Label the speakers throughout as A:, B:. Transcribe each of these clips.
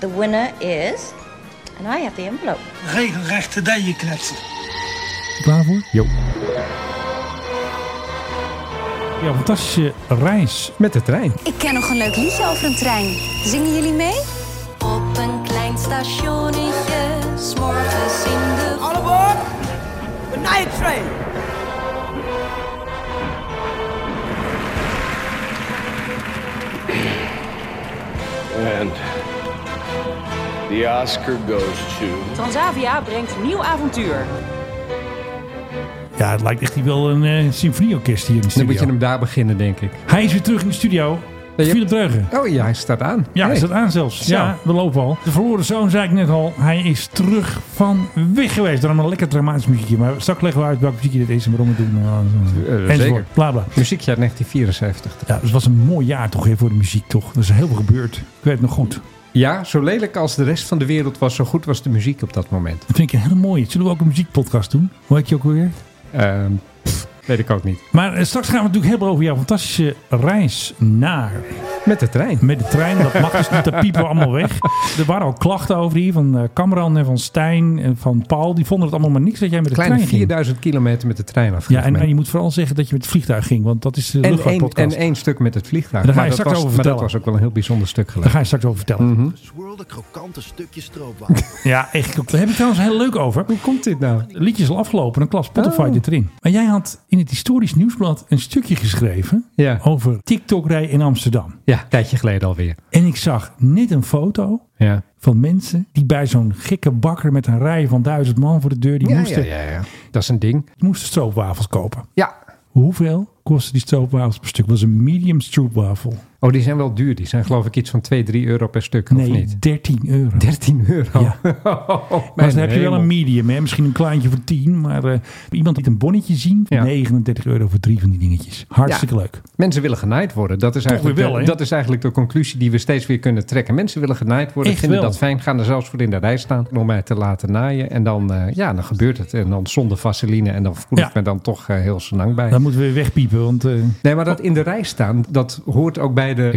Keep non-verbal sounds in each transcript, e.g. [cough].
A: The winner is... And I have the envelope.
B: Regelrechte dijen kletsen.
C: Klaar voor?
D: Jo.
C: Ja, fantastische reis met de trein.
E: Ik ken nog een leuk liedje over een trein. Zingen jullie mee?
F: Op een klein stationnetje, s'morgens in de...
G: All aboard the night train.
H: And the Oscar goes to...
I: Transavia brengt nieuw avontuur.
C: Ja, het lijkt echt hier wel een eh, symfonieorkest hier in de
D: Dan
C: studio.
D: moet je hem daar beginnen, denk ik.
C: Hij is weer terug in de studio.
D: je hebt-
C: Philip Dreugen.
D: Oh ja, hij staat aan.
C: Ja,
D: Hey.
C: is dat aan zelfs. Ja, we lopen al. De verloren zoon zei ik net al. Hij is terug van weg geweest. Daarom een lekker dramatisch muziekje. Maar straks leggen we uit welk muziekje dit is en waarom we het doen.
D: Eh,
C: En
D: zeker.
C: Bla bla.
D: Muziekjaar 1974.
C: Ja, dus het was een mooi jaar toch hè, voor de muziek toch. Er is heel veel gebeurd. Ik weet het nog goed.
D: Ja, zo lelijk als de rest van de wereld was, zo goed was de muziek op dat moment.
C: Dat vind ik een hele mooie. Zullen we ook een muziekpodcast doen? Hoe heet je ook alweer?
D: Ehm, pff, weet ik ook niet.
C: Maar eh, straks gaan we het natuurlijk hebben over jouw fantastische reis naar
D: Met de trein.
C: met de trein. Dat mag dus niet, dat piepen we allemaal weg. Er waren al klachten over hier van eh, Kamran en van Stijn en van Paul. Die vonden het allemaal maar niks dat jij met de
D: Kleine
C: trein ging.
D: 4000 kilometer met de trein af.
C: Ja, en, en je moet vooral zeggen dat je met het vliegtuig ging, want dat is de
D: en, één,
C: luchtvaartpodcast.
D: en één stuk met het vliegtuig.
C: Daar ga
D: maar,
C: je
D: dat
C: straks
D: was,
C: over
D: maar dat
C: vertellen.
D: was ook wel een heel bijzonder stuk
C: Daar
D: geluid.
C: ga je straks over vertellen.
D: Mhm.
J: Swirlde krokante stukjes stroopwafel.
C: Ja, echt. Daar heb ik trouwens heel leuk over.
D: Hoe komt dit nou?
C: Het liedje is al afgelopen, dan klap Spotify
D: Oh.
C: dit erin. Maar jij had in het historisch nieuwsblad een stukje geschreven
D: Ja.
C: over TikTok-rij in Amsterdam.
D: Ja, een tijdje geleden alweer.
C: En ik zag net een foto
D: Ja.
C: van mensen die bij zo'n gekke bakker met een rij van duizend man voor de deur, die
D: Ja, ja,
C: moesten,
D: ja, ja. Dat is een ding.
C: die moesten stroopwafels kopen.
D: Ja.
C: Hoeveel kostte die stroopwafels per stuk? was een medium stroopwafel.
D: Oh, die zijn wel duur. Die zijn geloof ik iets van 2, 3 euro per stuk,
C: Nee,
D: of niet?
C: 13 euro.
D: 13 euro. [laughs] Oh,
C: Ja. maar dan heb je wel een
D: mier.
C: medium, hè? misschien een kleintje voor 10. Maar eh, iemand liet een bonnetje zien.
D: Ja.
C: 39 euro voor drie van die dingetjes. Hartstikke leuk.
D: Mensen willen genaaid worden. Dat is, eigenlijk
C: weer wel,
D: de,
C: hè?
D: dat is eigenlijk de conclusie die we steeds weer kunnen trekken. Mensen willen genaaid worden,
C: Echt
D: vinden
C: wel.
D: dat fijn, gaan er zelfs voor in de rij staan om mij te laten naaien. En dan, eh, ja, dan gebeurt het. En dan zonder vaseline. En dan voel
C: Ja.
D: ik me dan toch eh, heel senang bij.
C: Dan moeten we weer wegpiepen, want eh,
D: Nee, maar dat in de rij staan, dat hoort ook bij de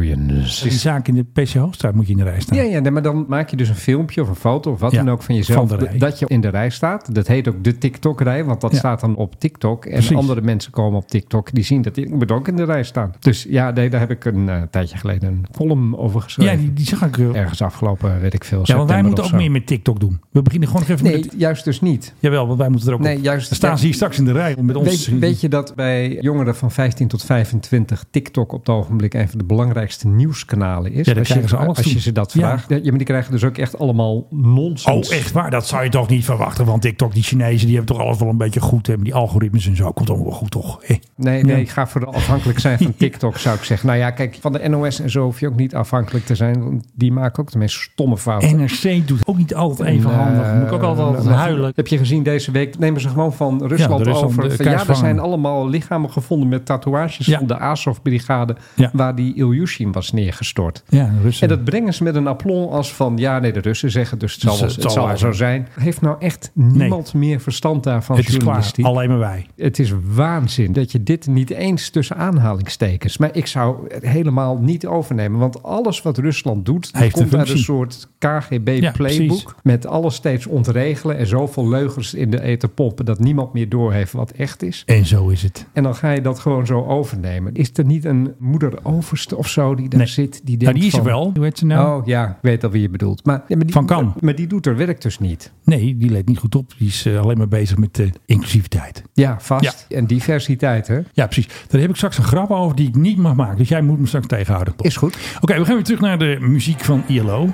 D: experience.
C: die zaak in de PC Hoofdstraat moet je in de rij staan.
D: Ja, ja nee, maar dan maak je dus een filmpje of een foto of wat
C: Ja,
D: dan ook van jezelf.
C: van de rij.
D: d- dat je in de rij staat. Dat heet ook de TikTok-rij, want dat
C: Ja.
D: staat dan op TikTok. En
C: Precies.
D: andere mensen komen op TikTok, die zien dat ik moet ook in de rij staan. Dus ja, nee, daar heb ik een eh, tijdje geleden een column over
C: Ja,
D: geschreven.
C: die, die zag ik wel.
D: Ergens afgelopen, weet ik veel.
C: Ja, want wij
D: september
C: moeten
D: of
C: ook
D: zo.
C: meer met TikTok doen. We beginnen gewoon nog even
D: Nee,
C: met... het-
D: juist dus niet.
C: Jawel, want wij moeten er ook
D: Nee,
C: op.
D: juist-
C: Dan staan ze hier straks in de rij om met ons...
D: Weet, je- weet je dat bij jongeren van 15 tot 25 TikTok op het ogenblik een van de belangrijkste nieuwskanalen is?
C: Ja, dan
D: als je,
C: krijgen ze alles
D: als je
C: toe.
D: ze dat
C: Ja.
D: vraagt. Ja. maar die krijgen dus ook echt allemaal nonsens.
C: Oh, echt waar? Dat zou je toch niet verwachten. Want TikTok, die Chinezen, die hebben toch alles wel een beetje goed. Hebben die algoritmes en zo. Komt allemaal wel goed, toch? Eh.
D: Nee,
C: Ja.
D: nee, ga vooral afhankelijk
C: [laughs]
D: zijn van TikTok, zou ik zeggen. Nou ja, kijk, van de NOS en zo hoef je ook niet afhankelijk te zijn. Want die maken ook de meest stomme fouten.
C: NRC doet ook niet altijd even
D: Nee,
C: handig. Moet ik ook altijd
D: nou,
C: huilen.
D: Heb je gezien deze week, nemen ze gewoon van Rusland
C: de Rusland,
D: over.
C: de
D: Van, ja, er
C: kaarsvanger.
D: zijn allemaal lichamen gevonden met tatoeages
C: Ja.
D: van de Azov-brigade...
C: Ja.
D: waar die Ilyushin was neergestort.
C: Ja, Russen.
D: En dat brengen ze met een aplomb als van... ja, nee, de Russen zeggen dus het zal,
C: Dus
D: wel,
C: het
D: het
C: zal
D: zal
C: wel
D: wel zo zijn. Heeft nou echt niemand meer verstand daarvan
C: het is klaar.
D: journalistiek?
C: Alleen maar wij.
D: Het is waanzin dat je dit niet eens tussen aanhalingstekens. Maar ik zou het helemaal niet overnemen. Want alles wat Rusland doet, dat
C: Heeft een
D: komt uit een
C: functie.
D: soort
C: Ja,
D: KGB-playbook.
C: precies.
D: met alles steeds ontregelen en zoveel leugens in de eten pompen dat niemand meer doorheeft wat echt is.
C: En zo is het.
D: En dan ga je dat gewoon zo overnemen. Is er niet een moeder overste of zo die daar
C: Nee.
D: zit? Die, denkt
C: Nou, die is er
D: van,
C: wel. Hoe heet ze nou?
D: Oh ja, ik weet al wie je bedoelt. Maar, ja, maar die,
C: Van Kan.
D: Maar die doet haar werk dus niet.
C: Nee, die leed niet goed op. Die is eh, alleen maar bezig met eh, inclusiviteit.
D: Ja, vast. En diversiteit, hè?
C: Ja, precies. Daar heb ik straks een grap over die ik niet mag maken. Dus jij moet me straks tegenhouden. Oké,
D: Is goed.
C: we gaan weer terug naar de muziek van ILO.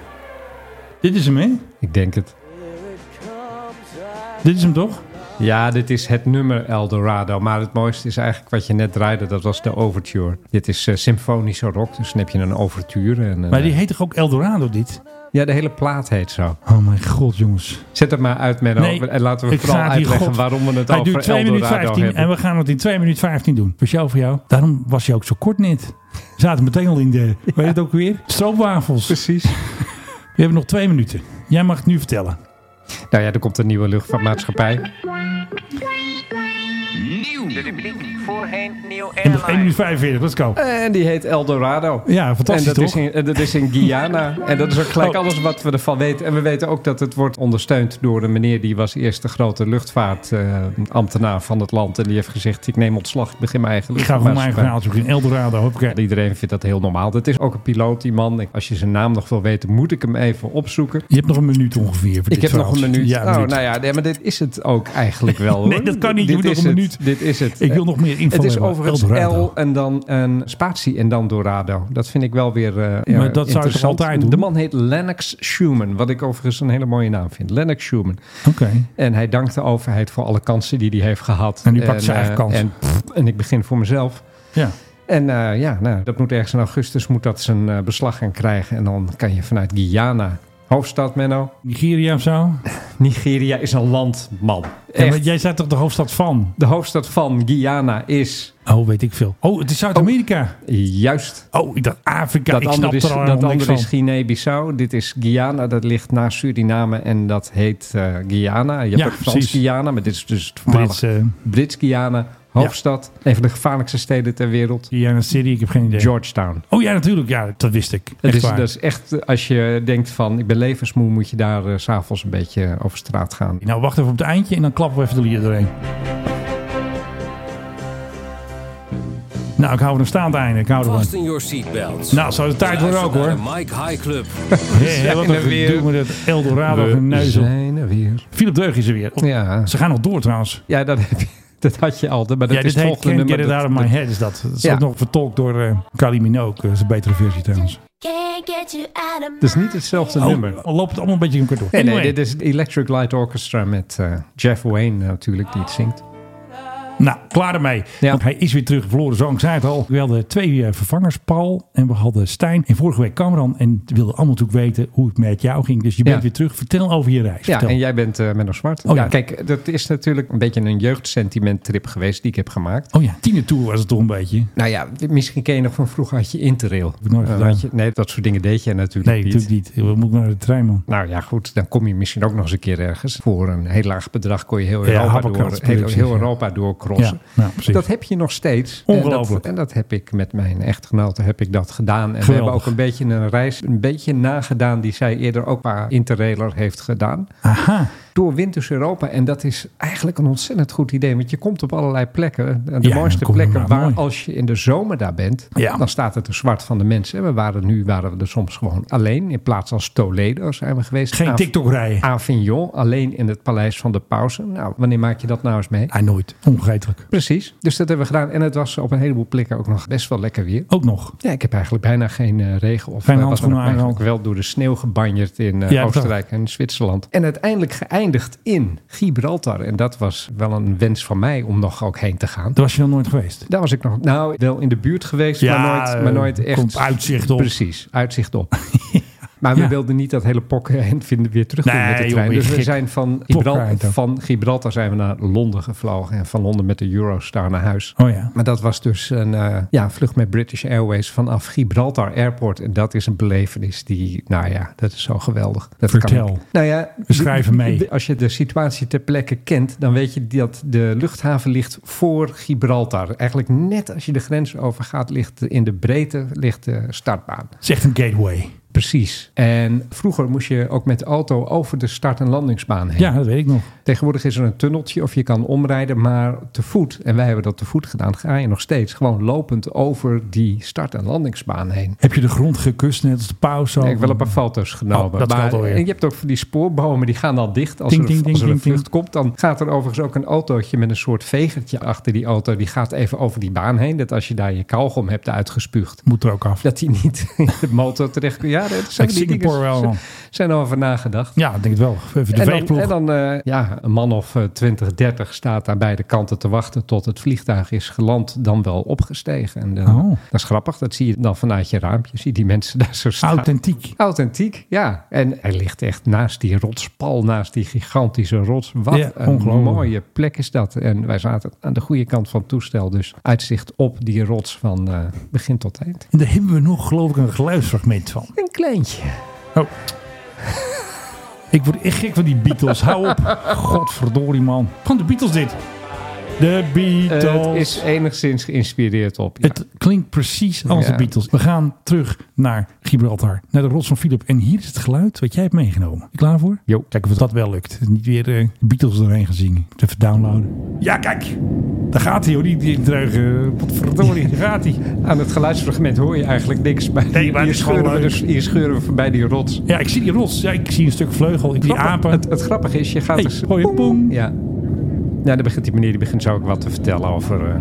C: Dit is hem, hè?
D: Ik denk het.
C: Dit is hem toch?
D: Ja, dit is het nummer Eldorado. Maar het mooiste is eigenlijk wat je net draaide. Dat was de overture. Dit is eh, symfonische rock. Dus dan heb je een overture. En, een-
C: Maar die heet toch ook Eldorado, dit?
D: Ja, de hele plaat heet zo.
C: Oh mijn god, jongens.
D: Zet het maar uit, Menno.
C: Nee,
D: en laten we
C: ik
D: vooral
C: ga die
D: uitleggen
C: god-
D: waarom we het
C: Hij
D: over
C: duurt 2 minuten
D: Eldorado
C: 15
D: hebben.
C: en we gaan het in 2 minuten 15 doen. Speciaal voor jou. Daarom was je ook zo kort net. Zaten meteen al in
D: [laughs]
C: de, weet je het ook weer? Stroopwafels.
D: Precies.
C: We hebben nog 2 minuten. Jij mag het nu vertellen.
D: Nou ja, er komt een nieuwe luchtvaartmaatschappij.
H: Nieuw
K: De rubriek voorheen Nieuw
C: En nog 1
K: Airline.
C: minuut 45, let's go.
D: En die heet El Dorado.
C: Ja, fantastisch,
D: en dat
C: toch?
D: Is in, en dat is in Guyana. en dat is ook gelijk
C: Oh.
D: alles wat we ervan weten. En we weten ook dat het wordt ondersteund door een meneer... die was eerst de grote luchtvaartambtenaar van het land. En die heeft gezegd, ik neem ontslag, ik begin mijn eigen
C: Ik ga gewoon mijn eigen
D: luchtvaartmaatschappij.
C: verhaal zoeken in Eldorado. Hoppakee.
D: En Iedereen vindt dat heel normaal. Dat is ook een piloot, die man. Ik- Als je zijn naam nog wil weten, moet ik hem even opzoeken.
C: Je hebt nog een minuut ongeveer. voor
D: Ik
C: dit
D: heb nog een
C: verhaal.
D: minuut.
C: Ja,
D: oh,
C: minuut.
D: nou ja, nee, maar dit is het ook eigenlijk
C: [laughs]
D: wel. Hoor.
C: Nee, dat kan niet. Je
D: Dit
C: moet nog
D: is
C: een
D: het.
C: minuut.
D: Dit is het.
C: Ik wil nog meer info
D: Het is
C: hebben.
D: overigens
C: Eldorado.
D: L en dan een spatie en dan Dorado. Dat vind ik wel weer eh, ja,
C: zou je toch
D: interessant.
C: altijd doen?
D: De man heet Lennox Schumann. Wat ik overigens een hele mooie naam vind. Lennox Schumann.
C: Oké.
D: En hij dankt de overheid voor alle kansen die hij heeft gehad.
C: En nu pakt ze
D: eh,
C: eigen kans.
D: En, pff, en ik begin voor mezelf.
C: Ja.
D: En eh, ja, nou, dat moet ergens in augustus moet dat zijn eh, beslag gaan krijgen. En dan kan je vanuit Guyana, hoofdstad Menno.
C: Nigeria of zo?
D: Nigeria is een land, man.
C: Ja, maar
D: Echt.
C: jij zei toch de hoofdstad van?
D: De hoofdstad van Guyana is
C: Oh, weet ik veel. Oh, het is Zuid-Amerika.
D: juist
C: Oh, ik dacht Afrika.
D: dat
C: ik snap
D: andere is,
C: er al
D: dat
C: helemaal niks
D: andere
C: van.
D: is Guinea-Bissau. Dit is Guyana. Dat ligt naast Suriname en dat heet eh, Guyana. Je hebt
C: Ja,
D: ook
C: precies.
D: Frans-Guyana, maar dit is dus het
C: Brits,
D: voormalige Brits-Guyana. Hoofdstad, een van de gevaarlijkste steden ter wereld.
C: Guyana City, ik heb geen idee.
D: Georgetown.
C: Oh ja, natuurlijk. Ja, dat wist ik.
D: Dat
C: Echt
D: is,
C: waar.
D: dat is echt, eh, als je denkt van ik ben levensmoe, moet je daar eh, s s'avonds een beetje over straat gaan.
C: Nou, wacht even op het eindje en dan klappen we even de lier doorheen. Nou, ik hou van een staand einde. Ik hou ervan.
L: Fasten your seatbelts.
C: Nou, zo de tijd voor ook, hoor.
L: Naar de Mike High Club.
C: Hé, hé, wat
D: zijn
C: een
D: er weer.
C: gedoe met het Eldorado
D: We
C: geneuzel.
D: zijn er weer.
C: Philip Deug is er weer. Oh,
D: Ja,
C: Ze gaan nog door trouwens.
D: ja dat, heb je, [laughs] dat had je al. Maar dat
C: ja,
D: is
C: dit
D: het
C: heet
D: volgende
C: Can't
D: nummer.
C: Get It
D: dat-
C: Out of My Head is dat. Dat is
D: Ja.
C: ook nog vertolkt door eh Kylie Minogue. Dat is een betere versie trouwens.
F: Can't get you out of
D: dat is niet hetzelfde nummer.
C: Oh, al loopt het allemaal een beetje in elkaar door.
D: Nee, nee,
C: Anyway.
D: dit is het Electric Light Orchestra met eh, Jeff Wayne natuurlijk, die het zingt.
C: Nou, klaar ermee.
D: Ja.
C: Want hij is weer terug. Verloren zoon, ik zei het al. We hadden twee eh, vervangers, Paul en we hadden Stijn. En vorige week Cameron. En we wilden allemaal natuurlijk weten hoe het met jou ging. Dus je bent
D: Ja.
C: weer terug. Vertel over je reis.
D: Ja,
C: Vertel.
D: en jij bent eh Menno Zwart.
C: Oh,
D: ja.
C: ja.
D: Kijk, dat is natuurlijk een beetje een jeugdsentiment trip geweest die ik heb gemaakt.
C: Oh ja, Tine Tour was het toch een beetje.
D: Nou ja, misschien ken je nog van vroeger had je interrail.
C: ik nooit
D: Eh,
C: gedaan.
D: had je- nee, dat soort dingen deed je natuurlijk
C: Nee,
D: niet.
C: natuurlijk niet. We moeten naar de trein, man.
D: Nou ja, goed, dan kom je misschien ook nog eens een keer ergens. Voor een heel laag bedrag kon je heel
C: Ja,
D: Europa, door,
C: habbekrat,
D: heel,
C: precies,
D: heel
C: ja.
D: Europa doorcrossen.
C: Ja, nou, precies.
D: dat heb je nog steeds. En
C: Ongelooflijk.
D: dat- En dat, heb ik met mijn echtgenote heb ik dat gedaan. En we
C: Geweldig.
D: hebben ook een beetje een reis, een beetje nagedaan die zij eerder ook qua interrailer heeft gedaan.
C: Aha.
D: Door Winters Europa. En dat is eigenlijk een ontzettend goed idee. Want je komt op allerlei plekken. eh, De
C: Ja,
D: mooiste
C: kom je
D: plekken
C: maar
D: waar
C: mooi.
D: als je in de zomer daar bent.
C: Ja.
D: Dan staat het er zwart van de mensen. En we waren nu waren we er soms gewoon alleen. In plaats als Toledo zijn we geweest.
C: Geen
D: Av-
C: TikTok rijden.
D: Avignon, alleen in het paleis van de pausen. Nou, wanneer maak je dat nou eens mee?
C: Ah, nooit. Onvergetelijk.
D: Precies. Dus dat hebben we gedaan. En het was op een heleboel plekken ook nog best wel lekker weer.
C: Ook nog.
D: Ja, ik heb eigenlijk bijna geen eh, regen of
C: Geen
D: eh, wat
C: handschoenen
D: dan ook. Maar
C: aan,
D: eigenlijk wel door de sneeuw gebanjerd in eh,
C: Ja, dat-
D: Oostenrijk en Zwitserland. En uiteindelijk geëindigd in Gibraltar. En dat was wel een wens van mij om nog ook heen te gaan.
C: Daar was je nog nooit geweest.
D: Daar was ik nog, nou, wel in de buurt geweest,
C: Ja,
D: maar, nooit, maar nooit
C: eh,
D: echt.
C: komt uitzicht op.
D: Precies, uitzicht
C: [laughs]
D: op. Maar we
C: Ja.
D: wilden niet dat hele pokken en vinden weer terug doen
C: Nee,
D: met de
C: joh,
D: trein.
C: ben je
D: dus we
C: gek.
D: zijn van
C: Pokken
D: Gibraltar,
C: uit ook.
D: van Gibraltar zijn we naar Londen gevlogen. En van Londen met de Eurostar naar huis.
C: Oh ja.
D: Maar dat was dus een eh, ja, vlucht met British Airways vanaf Gibraltar Airport. En dat is een belevenis die, nou ja, dat is zo geweldig. Dat
C: Vertel.
D: Kan ik- nou ja,
C: We schrijven
D: de-
C: mee.
D: de- Als je de situatie ter plekke kent, dan weet je dat de luchthaven ligt voor Gibraltar. Eigenlijk net als je de grens overgaat, ligt in de breedte ligt de startbaan.
C: Het is echt een gateway.
D: Precies. En vroeger moest je ook met de auto over de start- en landingsbaan heen.
C: Ja, dat weet ik nog.
D: Tegenwoordig is er een tunneltje of je kan omrijden, maar te voet, en wij hebben dat te voet gedaan, ga je nog steeds gewoon lopend over die start- en landingsbaan heen.
C: Heb je de grond gekust net als de pauw zo?
D: Ik heb wel een paar foto's genomen.
C: Oh, dat
D: maar,
C: geldt alweer.
D: en je hebt ook van die spoorbomen, die gaan al dicht. Als
C: Ding,
D: er, een-
C: ding,
D: als er
C: ding,
D: een
C: ding,
D: vlucht komt, dan gaat er overigens ook een autootje met een soort vegertje achter die auto. Die gaat even over die baan heen. Dat als je daar je kauwgom hebt uitgespuugd,
C: Moet er ook af.
D: dat die niet [laughs] in de motor terecht... Ja, dat zijn
C: Ik
D: die dingen-
C: Singapore wel, man.
D: Zijn over nagedacht.
C: Ja, ik denk het wel. Even de
D: En dan,
C: veegploeg.
D: en dan eh, ja, een man of eh, 20, 30 staat aan beide kanten te wachten tot het vliegtuig is geland, dan wel opgestegen. En, eh,
C: Oh.
D: Dat is grappig, dat zie je dan vanuit je raampje. Zie je die mensen [laughs] daar zo staan.
C: Authentiek.
D: Authentiek, ja. En hij ligt echt naast die rotspal, naast die gigantische rots. Wat
C: Ja,
D: een
C: ongelooflijk.
D: mooie plek is dat. En wij zaten aan de goede kant van het toestel, dus uitzicht op die rots van eh, begin tot eind.
C: En daar hebben we nog, geloof ik, een geluidsfragment van.
D: Een kleintje.
C: Oh.
D: [laughs]
C: Ik word echt gek van die Beatles. Hou op. Godverdorie, man. Van de Beatles dit. De Beatles.
D: Eh, het is enigszins geïnspireerd op. Ja.
C: Het klinkt precies als
D: Ja.
C: de Beatles. We gaan terug naar Gibraltar, naar de rots van Philip. En hier is het geluid wat jij hebt meegenomen. Je klaar voor?
D: Jo.
C: Kijken of dat wel lukt. Niet weer eh, de Beatles doorheen gaan zingen. Moet Even downloaden. Ja, kijk. Daar gaat hij hoor, die, die dreuge. Wat verdorie, daar gaat hij.
D: [laughs] Aan het geluidsfragment hoor je eigenlijk niks. Maar
C: Nee, maar het
D: hier,
C: is gewoon
D: scheuren we
C: leuk.
D: dus, hier scheuren we voorbij die rots.
C: Ja, ik zie die rots. Ja, ik zie een stuk vleugel. Ik zie
D: Grappig.
C: apen.
D: Het, het grappige is, je gaat
C: Hey,
D: dus...
C: hoi, boem.
D: Ja. Nou, dan begint die meneer die begint zo ook wat te vertellen over... eh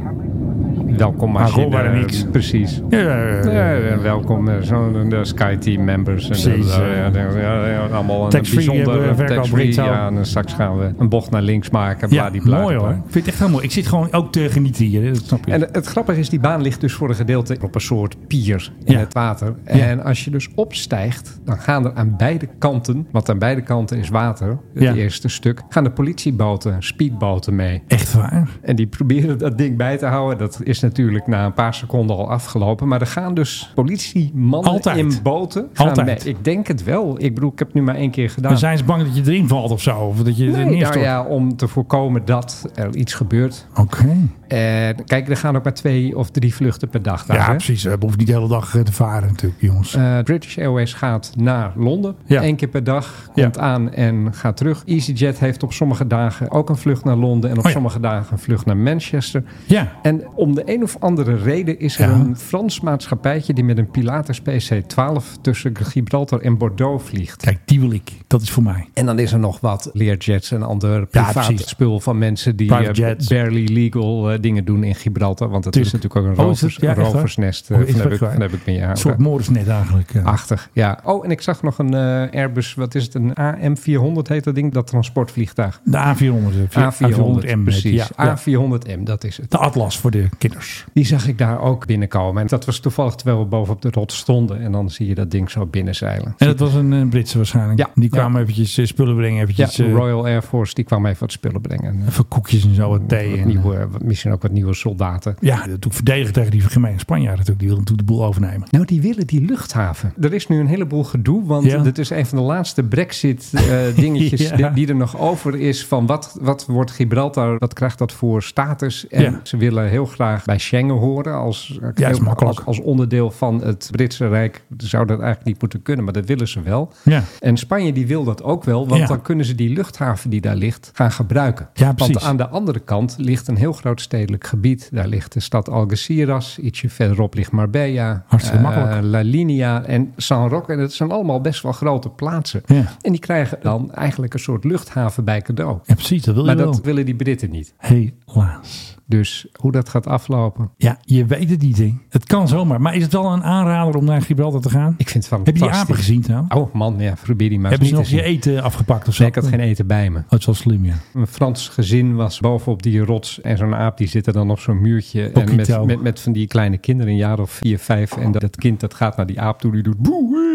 D: welkom als je...
C: Agora
D: eh,
C: niks.
D: Precies.
C: Ja, ja, ja, ja.
D: Ja, ja, welkom, eh, zo de- de Sky Team members. En
C: Precies,
D: de-
C: eh,
D: ja, de- ja, ja, allemaal een
C: Tax-free hebben
D: bijzondere
C: we, verkoop
D: tax-free.
C: retail.
D: Ja, en dan straks gaan we een bocht naar links maken.
C: Ja,
D: bladibla.
C: mooi hoor. Ik vind het echt heel mooi. Ik zit gewoon ook te genieten hier. Dat snap je.
D: En het grappige is, die baan ligt dus voor een gedeelte op een soort pier in
C: Ja.
D: het water.
C: Ja.
D: En als je dus opstijgt, dan gaan er aan beide kanten, want aan beide kanten is water, het
C: Ja.
D: eerste stuk, gaan de politieboten, speedboten mee.
C: echt waar.
D: En die proberen dat ding bij te houden. Dat is natuurlijk na een paar seconden al afgelopen. Maar er gaan dus politiemannen
C: Altijd.
D: in boten gaan
C: Altijd.
D: mee. Ik denk het wel. Ik bedoel, ik heb het nu maar één keer gedaan.
C: Maar zijn ze bang dat je erin valt of zo? Of dat je er
D: Nee,
C: neerstort?
D: nou ja, om te voorkomen dat er iets gebeurt.
C: Oké.
D: En kijk, er gaan ook maar twee of drie vluchten per dag. daar,
C: Ja,
D: hè?
C: precies. We hoeven niet de hele dag eh, te varen natuurlijk, jongens.
D: Eh, British Airways gaat naar Londen.
C: Ja.
D: Eén keer per dag
C: Ja.
D: komt aan en gaat terug. EasyJet heeft op sommige dagen ook een vlucht naar Londen. En op
C: Oh ja.
D: sommige dagen een vlucht naar Manchester.
C: ja.
D: En om de een of andere reden is er
C: Ja.
D: een Frans maatschappijtje... die met een Pilatus PC-12 tussen Gibraltar en Bordeaux vliegt.
C: Kijk, die wil ik. Dat is voor mij.
D: En dan is er nog wat leerjets en ander
C: Ja,
D: privaat
C: precies.
D: spul van mensen die
C: Private
D: eh,
C: jets.
D: barely legal eh, dingen doen in Gibraltar. Want het
C: Tuurlijk.
D: is natuurlijk ook een
C: Oh, is het?
D: rovers,
C: Ja, echt waar?
D: roversnest. eh,
C: Oh, is
D: van,
C: dat
D: heb ik,
C: waar?
D: van heb ik me ja,
C: Een soort moordesnet eigenlijk. eh.
D: Achtig, ja. Oh, en ik zag nog een eh, Airbus, wat is het, een AM400 heet dat ding, dat transportvliegtuig.
C: De A400. eh, A400M.
D: precies.
C: Ja, ja.
D: A400M, dat is het.
C: De atlas voor de kinders.
D: Die zag ik daar ook binnenkomen. En dat was toevallig terwijl we bovenop de rots stonden. En dan zie je dat ding zo binnenzeilen.
C: En dat was een eh, Britse waarschijnlijk.
D: Ja.
C: Die kwamen eventjes eh, spullen brengen.
D: Ja,
C: Eventjes
D: de
C: eh,
D: Royal Air Force, die kwam even wat spullen brengen. eh,
C: even koekjes en zo. Wat thee.
D: Wat
C: En, eh,
D: nieuwe, wat- misschien ook wat nieuwe soldaten.
C: ja, dat doe ik verdedigen tegen die gemeene Spanjaarden natuurlijk. Die wilden natuurlijk de boel overnemen.
D: Nou, die willen die luchthaven. Er is nu een heleboel gedoe, want
C: Ja.
D: dit is een van de laatste [laughs] Brexit-dingetjes
C: Ja.
D: die, die er nog over is. Van wat, wat wordt Gibraltar, wat krijgt dat voor status? En
C: Ja.
D: ze willen heel graag bij Schengen horen als, eh,
C: Ja, is makkelijk.
D: als, als onderdeel van het Britse Rijk. Zou dat eigenlijk niet moeten kunnen, maar dat willen ze wel.
C: Ja.
D: En Spanje die wil dat ook wel, want
C: Ja.
D: dan kunnen ze die luchthaven die daar ligt gaan gebruiken.
C: Ja, precies.
D: Want aan de andere kant ligt een heel groot stedelijk gebied. Daar ligt de stad Algeciras, ietsje verderop ligt Marbella,
C: Hartstikke
D: eh,
C: makkelijk.
D: La Linea en San Roque. En dat zijn allemaal best wel grote plaatsen.
C: Ja.
D: En die krijgen dan eigenlijk een soort luchthaven bij cadeau.
C: ja, precies. Dat wil je
D: Maar
C: wel.
D: dat willen die Britten niet.
C: Helaas.
D: Dus hoe dat gaat aflopen,
C: Ja, je weet het niet, hè. Het kan zomaar. Maar is het wel een aanrader om naar Gibraltar te gaan?
D: ik vind het
C: Heb je die
D: fantastisch.
C: apen gezien trouwens?
D: Oh man, ja, probeer die maar
C: Hebben
D: eens
C: ze
D: niet
C: nog
D: te
C: je
D: zien.
C: eten afgepakt of zo?
D: Nee, ik had geen eten bij me.
C: Oh, het is wel slim, ja.
D: Een Frans gezin was bovenop die rots en zo'n aap die zit er dan op zo'n muurtje. En
C: Pokito.
D: met, met, met van die kleine kinderen, een jaar of vier, vijf. En dat, dat kind dat gaat naar die aap toe, die doet boe.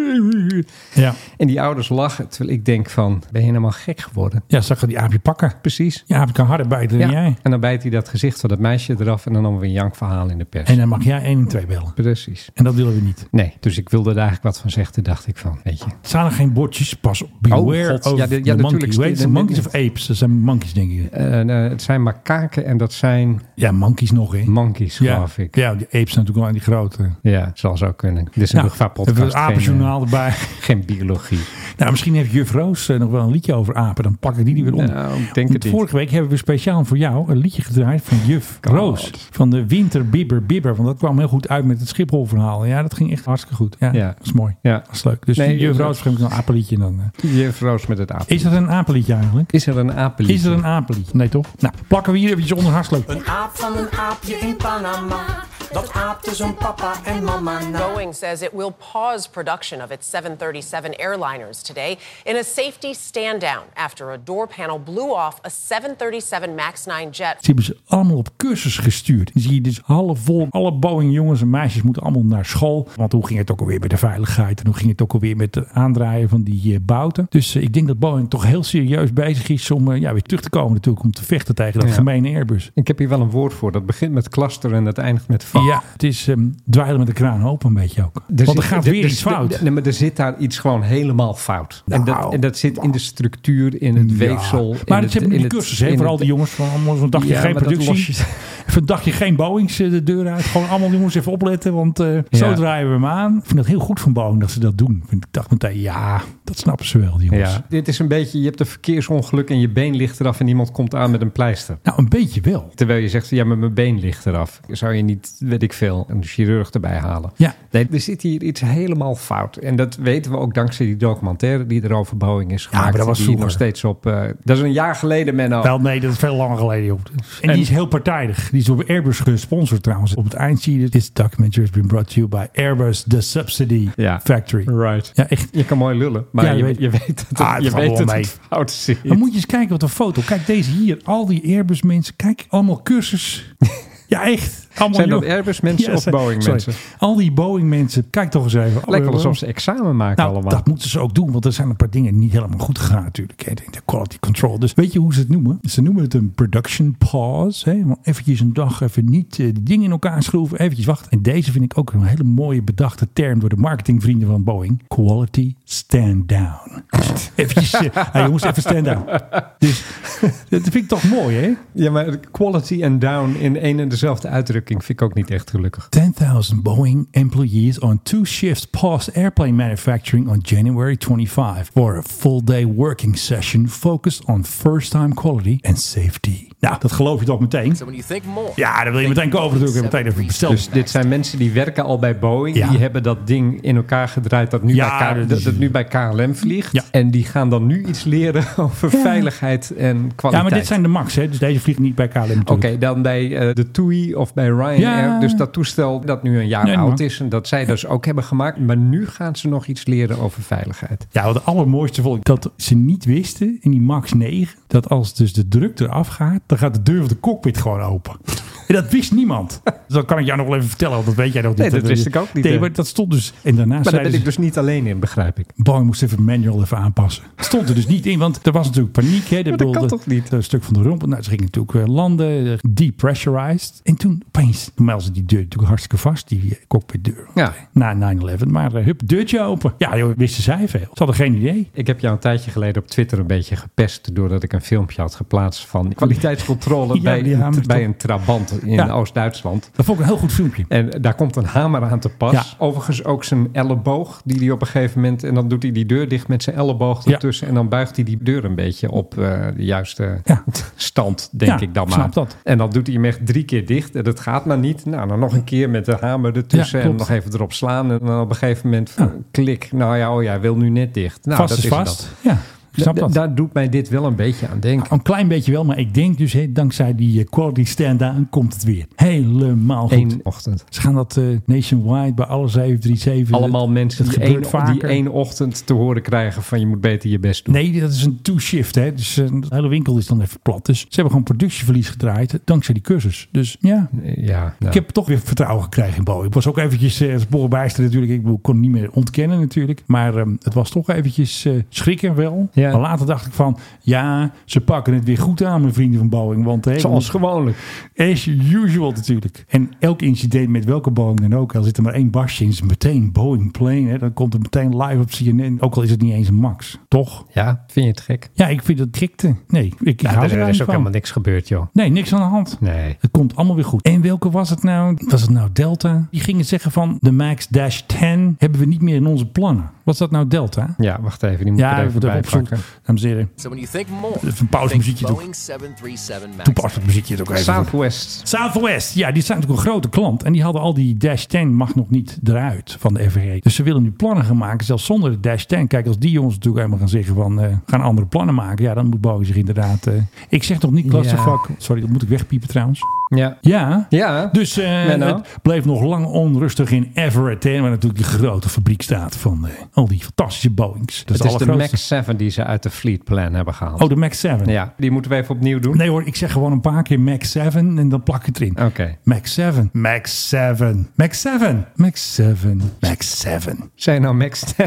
C: Ja,
D: En die ouders lachen, terwijl ik denk van, ben je helemaal gek geworden?
C: ja zag je die aapje pakken.
D: Precies.
C: Ja, aapje kan harder bijten dan jij.
D: En dan bijt hij dat gezicht van dat meisje eraf en dan allemaal weer een jankverhaal in de pers.
C: En dan mag jij 1 en 2 bellen.
D: Precies.
C: En dat willen we niet.
D: Nee, dus ik wilde er eigenlijk wat van zeggen, toen dacht ik van, weet je.
C: Staan er geen bordjes? Pas op. Beware
D: Oh, God.
C: of ja,
D: Ja, de- ja,
C: ja,
D: natuurlijk
C: monkey. Hoe heet
D: steden-
C: ze? Monkeys of apes? Dat zijn monkeys, denk ik.
D: Eh, eh, het zijn makaken en dat zijn
C: Ja, monkeys nog, hè?
D: monkeys,
C: ja.
D: geloof ik.
C: ja, die apes zijn natuurlijk wel aan die grote.
D: Ja, zal zo kunnen. Dit is een
C: Nou,
D: luchtvaartpodcast.
C: Even het
D: geen, eh,
C: apenjournaal
D: [laughs]
C: erbij.
D: geen biologie.
C: Nou, misschien heeft juf Roos eh, nog wel een liedje over apen. Dan pak ik die er weer onder.
D: Nou, ik denk het niet.
C: Vorige week hebben we speciaal voor jou een liedje gedraaid van juf
D: God.
C: Roos. Van de winter bibber bibber. Want dat kwam heel goed uit met het Schiphol verhaal. Ja, dat ging echt hartstikke goed. Ja,
D: Ja.
C: dat is mooi.
D: Ja,
C: Dat is leuk. Dus
D: Nee,
C: juf
D: dat-
C: Roos geeft een apeliedje dan. eh.
D: juf Roos met het aap.
C: Is dat een apeliedje eigenlijk?
D: Is er een apelie?
C: Is er een apeliedje? Nee toch? Nou, plakken we hier eventjes onder. Hartstikke leuk.
G: Een aap van een aapje in Panama. Dat aapte zijn papa en mama na.
L: Boeing says it will pause production of its 737 airliners today in a safety stand down after a door panel blew off a 737 MAX 9 jet.
C: Ze hebben ze allemaal op cursus gestuurd. Dan zie je dus half vol. Alle Boeing jongens en meisjes moeten allemaal naar school. Want hoe ging het ook alweer met de veiligheid? En hoe ging het ook alweer met het aandraaien van die eh, bouten? Dus eh, ik denk dat Boeing toch heel serieus bezig is om eh, ja, weer terug te komen natuurlijk. Om te vechten tegen dat
D: Ja.
C: gemene Airbus.
D: Ik heb hier wel een woord voor. Dat begint met cluster en dat eindigt met fuck.
C: Ja, het is ehm dweilen met de kraan open een beetje ook.
D: Er
C: Want
D: zit-
C: er gaat
D: er-
C: weer
D: er-
C: iets
D: er-
C: fout.
D: Nee, maar er zit daar iets gewoon helemaal fout. Nou, en, dat, en dat zit in de structuur, in het ja. weefsel.
C: Maar
D: in het,
C: hebben in de cursus, he, vooral die jongens van allemaal zo'n dagje ja, geen productie. [laughs] Van een dagje geen Boeings eh, de deur uit. Gewoon allemaal jongens even opletten, want uh, zo ja. draaien we hem aan. Ik vind dat heel goed van Boeing dat ze dat doen. Ik dacht meteen, ja, dat snappen ze wel, die jongens. Ja.
D: Dit is een beetje, je hebt een verkeersongeluk en je been ligt eraf en iemand komt aan met een pleister.
C: Nou, een beetje wel.
D: Terwijl je zegt, ja, maar mijn been ligt eraf. Zou je niet, weet ik veel, een chirurg erbij halen?
C: Ja.
D: Nee, er zit hier iets helemaal fout. En dat weten we ook dankzij die documentaire die er over Boeing is gemaakt. Ja, maar
C: dat was
D: die nog steeds op. Uh, dat is een jaar geleden, Menno.
C: Wel, nee, dat is veel langer geleden, joh. En, en die is heel partijdig. Die is door Airbus gesponsord trouwens. Op het eind zie je This documentary has been brought to you by Airbus, the subsidy
D: ja.
C: factory.
D: Right.
C: Ja, echt.
D: Je kan mooi lullen, maar ja, je, weet, je weet dat, ah, je weet dat het, ah, het fout zit.
C: [laughs] Dan moet je eens kijken wat een foto. Kijk, deze hier. Al die Airbus mensen. Kijk, allemaal
D: [laughs]
C: cursus. Ja, echt.
D: Allemaal zijn dat Airbus mensen ja, of Boeing sorry. mensen?
C: Al die Boeing mensen. Kijk toch eens even. Oh,
D: Lijkt wel alsof ze examen maken nou, allemaal.
C: Dat moeten ze ook doen. Want er zijn een paar dingen niet helemaal goed gegaan natuurlijk. De quality control. Dus weet je hoe ze het noemen? Ze noemen het een production pause. Hè? Eventjes een dag even niet uh, die dingen in elkaar schroeven. Eventjes wachten. En deze vind ik ook een hele mooie bedachte term door de marketingvrienden van Boeing. Quality stand down. [laughs] eventjes, uh, hey, jongens, even stand down. Dus [laughs] dat vind ik toch mooi hè?
D: Ja, maar quality en down in één en dezelfde uitdrukking vind ik ook niet echt gelukkig.
C: 10.000 Boeing employees on two shifts paused airplane manufacturing on January 25 for a full day working session focused on first time quality and safety. Nou, dat geloof je toch meteen?
M: So when you think more,
C: ja, dan wil je meteen kopen natuurlijk. Meteen even bestellen.
D: Dus dit zijn mensen die werken al bij Boeing. Ja. Die hebben dat ding in elkaar gedraaid dat nu, ja, bij, KLM, dat, dat nu bij KLM vliegt. Ja. En die gaan dan nu iets leren [laughs] over veiligheid en kwaliteit.
C: Ja, maar dit zijn de MAX. Hè? Dus deze vliegt niet bij KLM.
D: Oké, okay, dan bij uh, de TUI of bij Ryanair. Dus dat toestel dat nu een jaar nee, oud is. En dat zij dus ook hebben gemaakt. Maar nu gaan ze nog iets leren over veiligheid.
C: Ja, wat het allermooiste vond ik dat ze niet wisten in die MAX 9. Dat als dus de druk eraf gaat dan gaat de deur van de cockpit gewoon open. [laughs] En dat wist niemand. Dus dat kan ik jou nog wel even vertellen, want dat weet jij nog niet.
D: Nee, dat wist ik ook niet. eh.
C: Nee, maar dat stond dus... En daarna
D: maar daar ben ik dus niet alleen in, begrijp ik.
C: Boeing moest even manual even aanpassen. Het stond er dus niet in, want er was natuurlijk paniek. Hè.
D: Maar dat kan toch niet?
C: Een stuk van de romp. Nou, ze gingen natuurlijk landen, eh, depressurized. En toen opeens, normaal zit die deur natuurlijk hartstikke vast, die eh, cockpitdeur.
D: Ja.
C: Na 9-11, maar eh, hup, deurtje open. Ja, joh, wisten zij veel. Ze hadden geen idee.
D: Ik heb jou een tijdje geleden op Twitter een beetje gepest doordat ik een filmpje had geplaatst van kwaliteitscontrole [laughs] ja, bij, een, bij een trabant in ja. Oost-Duitsland.
C: Dat vond ik een heel goed filmpje.
D: En daar komt een hamer aan te pas. Ja. Overigens ook zijn elleboog, die hij op een gegeven moment... en dan doet hij die deur dicht met zijn elleboog ertussen... en dan buigt hij die deur een beetje op uh, de juiste stand, denk ik dan maar.
C: snap dat.
D: En dan doet hij hem echt drie keer dicht en dat gaat maar niet. Nou, dan nog een keer met de hamer ertussen en nog even erop slaan... en dan op een gegeven moment klik. Nou ja, oh ja, wil nu net dicht. Nou,
C: vast
D: dat
C: is,
D: is
C: vast.
D: Dat. Ja. Da, da, daar doet mij dit wel een beetje aan denken.
C: Een klein beetje wel, maar ik denk dus he, dankzij die quality stand-down komt het weer. Helemaal Oh, goed.
D: Eén ochtend.
C: Ze gaan dat uh, nationwide bij alle 737.
D: Allemaal mensen dat die, één, vaker. die één ochtend te horen krijgen van je moet beter je best doen.
C: Nee, dat is een two-shift. Hè. Dus uh, de hele winkel is dan even plat. Dus ze hebben gewoon productieverlies gedraaid dankzij die cursus. Dus ja,
D: ja
C: nou. ik heb toch weer vertrouwen gekregen in Boeing. Ik was ook eventjes, uh, sporenbijster natuurlijk. Ik kon niet meer ontkennen natuurlijk. Maar um, het was toch eventjes uh, schrikken wel. Ja. Maar later dacht ik van, ja, ze pakken het weer goed aan, mijn vrienden van Boeing. Want, hey,
D: Zoals gewoonlijk.
C: As usual natuurlijk. En elk incident met welke Boeing dan ook, al zit er maar één basje in, is meteen Boeing plane. Hè, dan komt het meteen live op CNN, ook al is het niet eens een max. Toch?
D: Ja, vind je het gek?
C: Ja, ik vind het gekte. Nee, ik, nou,
D: hou er, er is ook van. helemaal niks gebeurd, joh.
C: Nee, niks aan de hand.
D: Nee.
C: Het komt allemaal weer goed. En welke was het nou? Was het nou Delta? Die gingen zeggen van, de MAX Dash 10 hebben we niet meer in onze plannen. Was dat nou Delta?
D: Ja, wacht even. Die moet ja, er even bij pakken.
C: Dames en heren.
M: So when you think more,
C: even pauze muziekje toe. Toepasselijk muziekje ook even.
D: Southwest.
C: Southwest. Ja, die zijn natuurlijk een grote klant. En die hadden al die Dash 10 mag nog niet eruit van de FRA. Dus ze willen nu plannen gaan maken, zelfs zonder de Dash 10. Kijk, als die jongens natuurlijk helemaal gaan zeggen van, uh, gaan andere plannen maken. Ja, dan moet Boeing zich inderdaad... Uh, ik zeg nog niet clusterfuck. Ja. Sorry, dat moet ik wegpiepen trouwens.
D: Ja.
C: Ja.
D: ja. eh,
C: Dus uh, het bleef nog lang onrustig in Everett. Hè, waar natuurlijk de grote fabriek staat van eh, al die fantastische Boeings.
D: Dat het is, de grootste. MAX 7 die ze uit de fleet plan hebben gehaald.
C: Oh, de MAX 7?
D: Ja, die moeten we even opnieuw doen.
C: Nee hoor, ik zeg gewoon een paar keer MAX 7 en dan plak ik het erin.
D: Oké. Okay.
C: MAX 7. MAX 7. MAX 7. MAX 7. MAX 7.
D: Zijn nou MAX 10?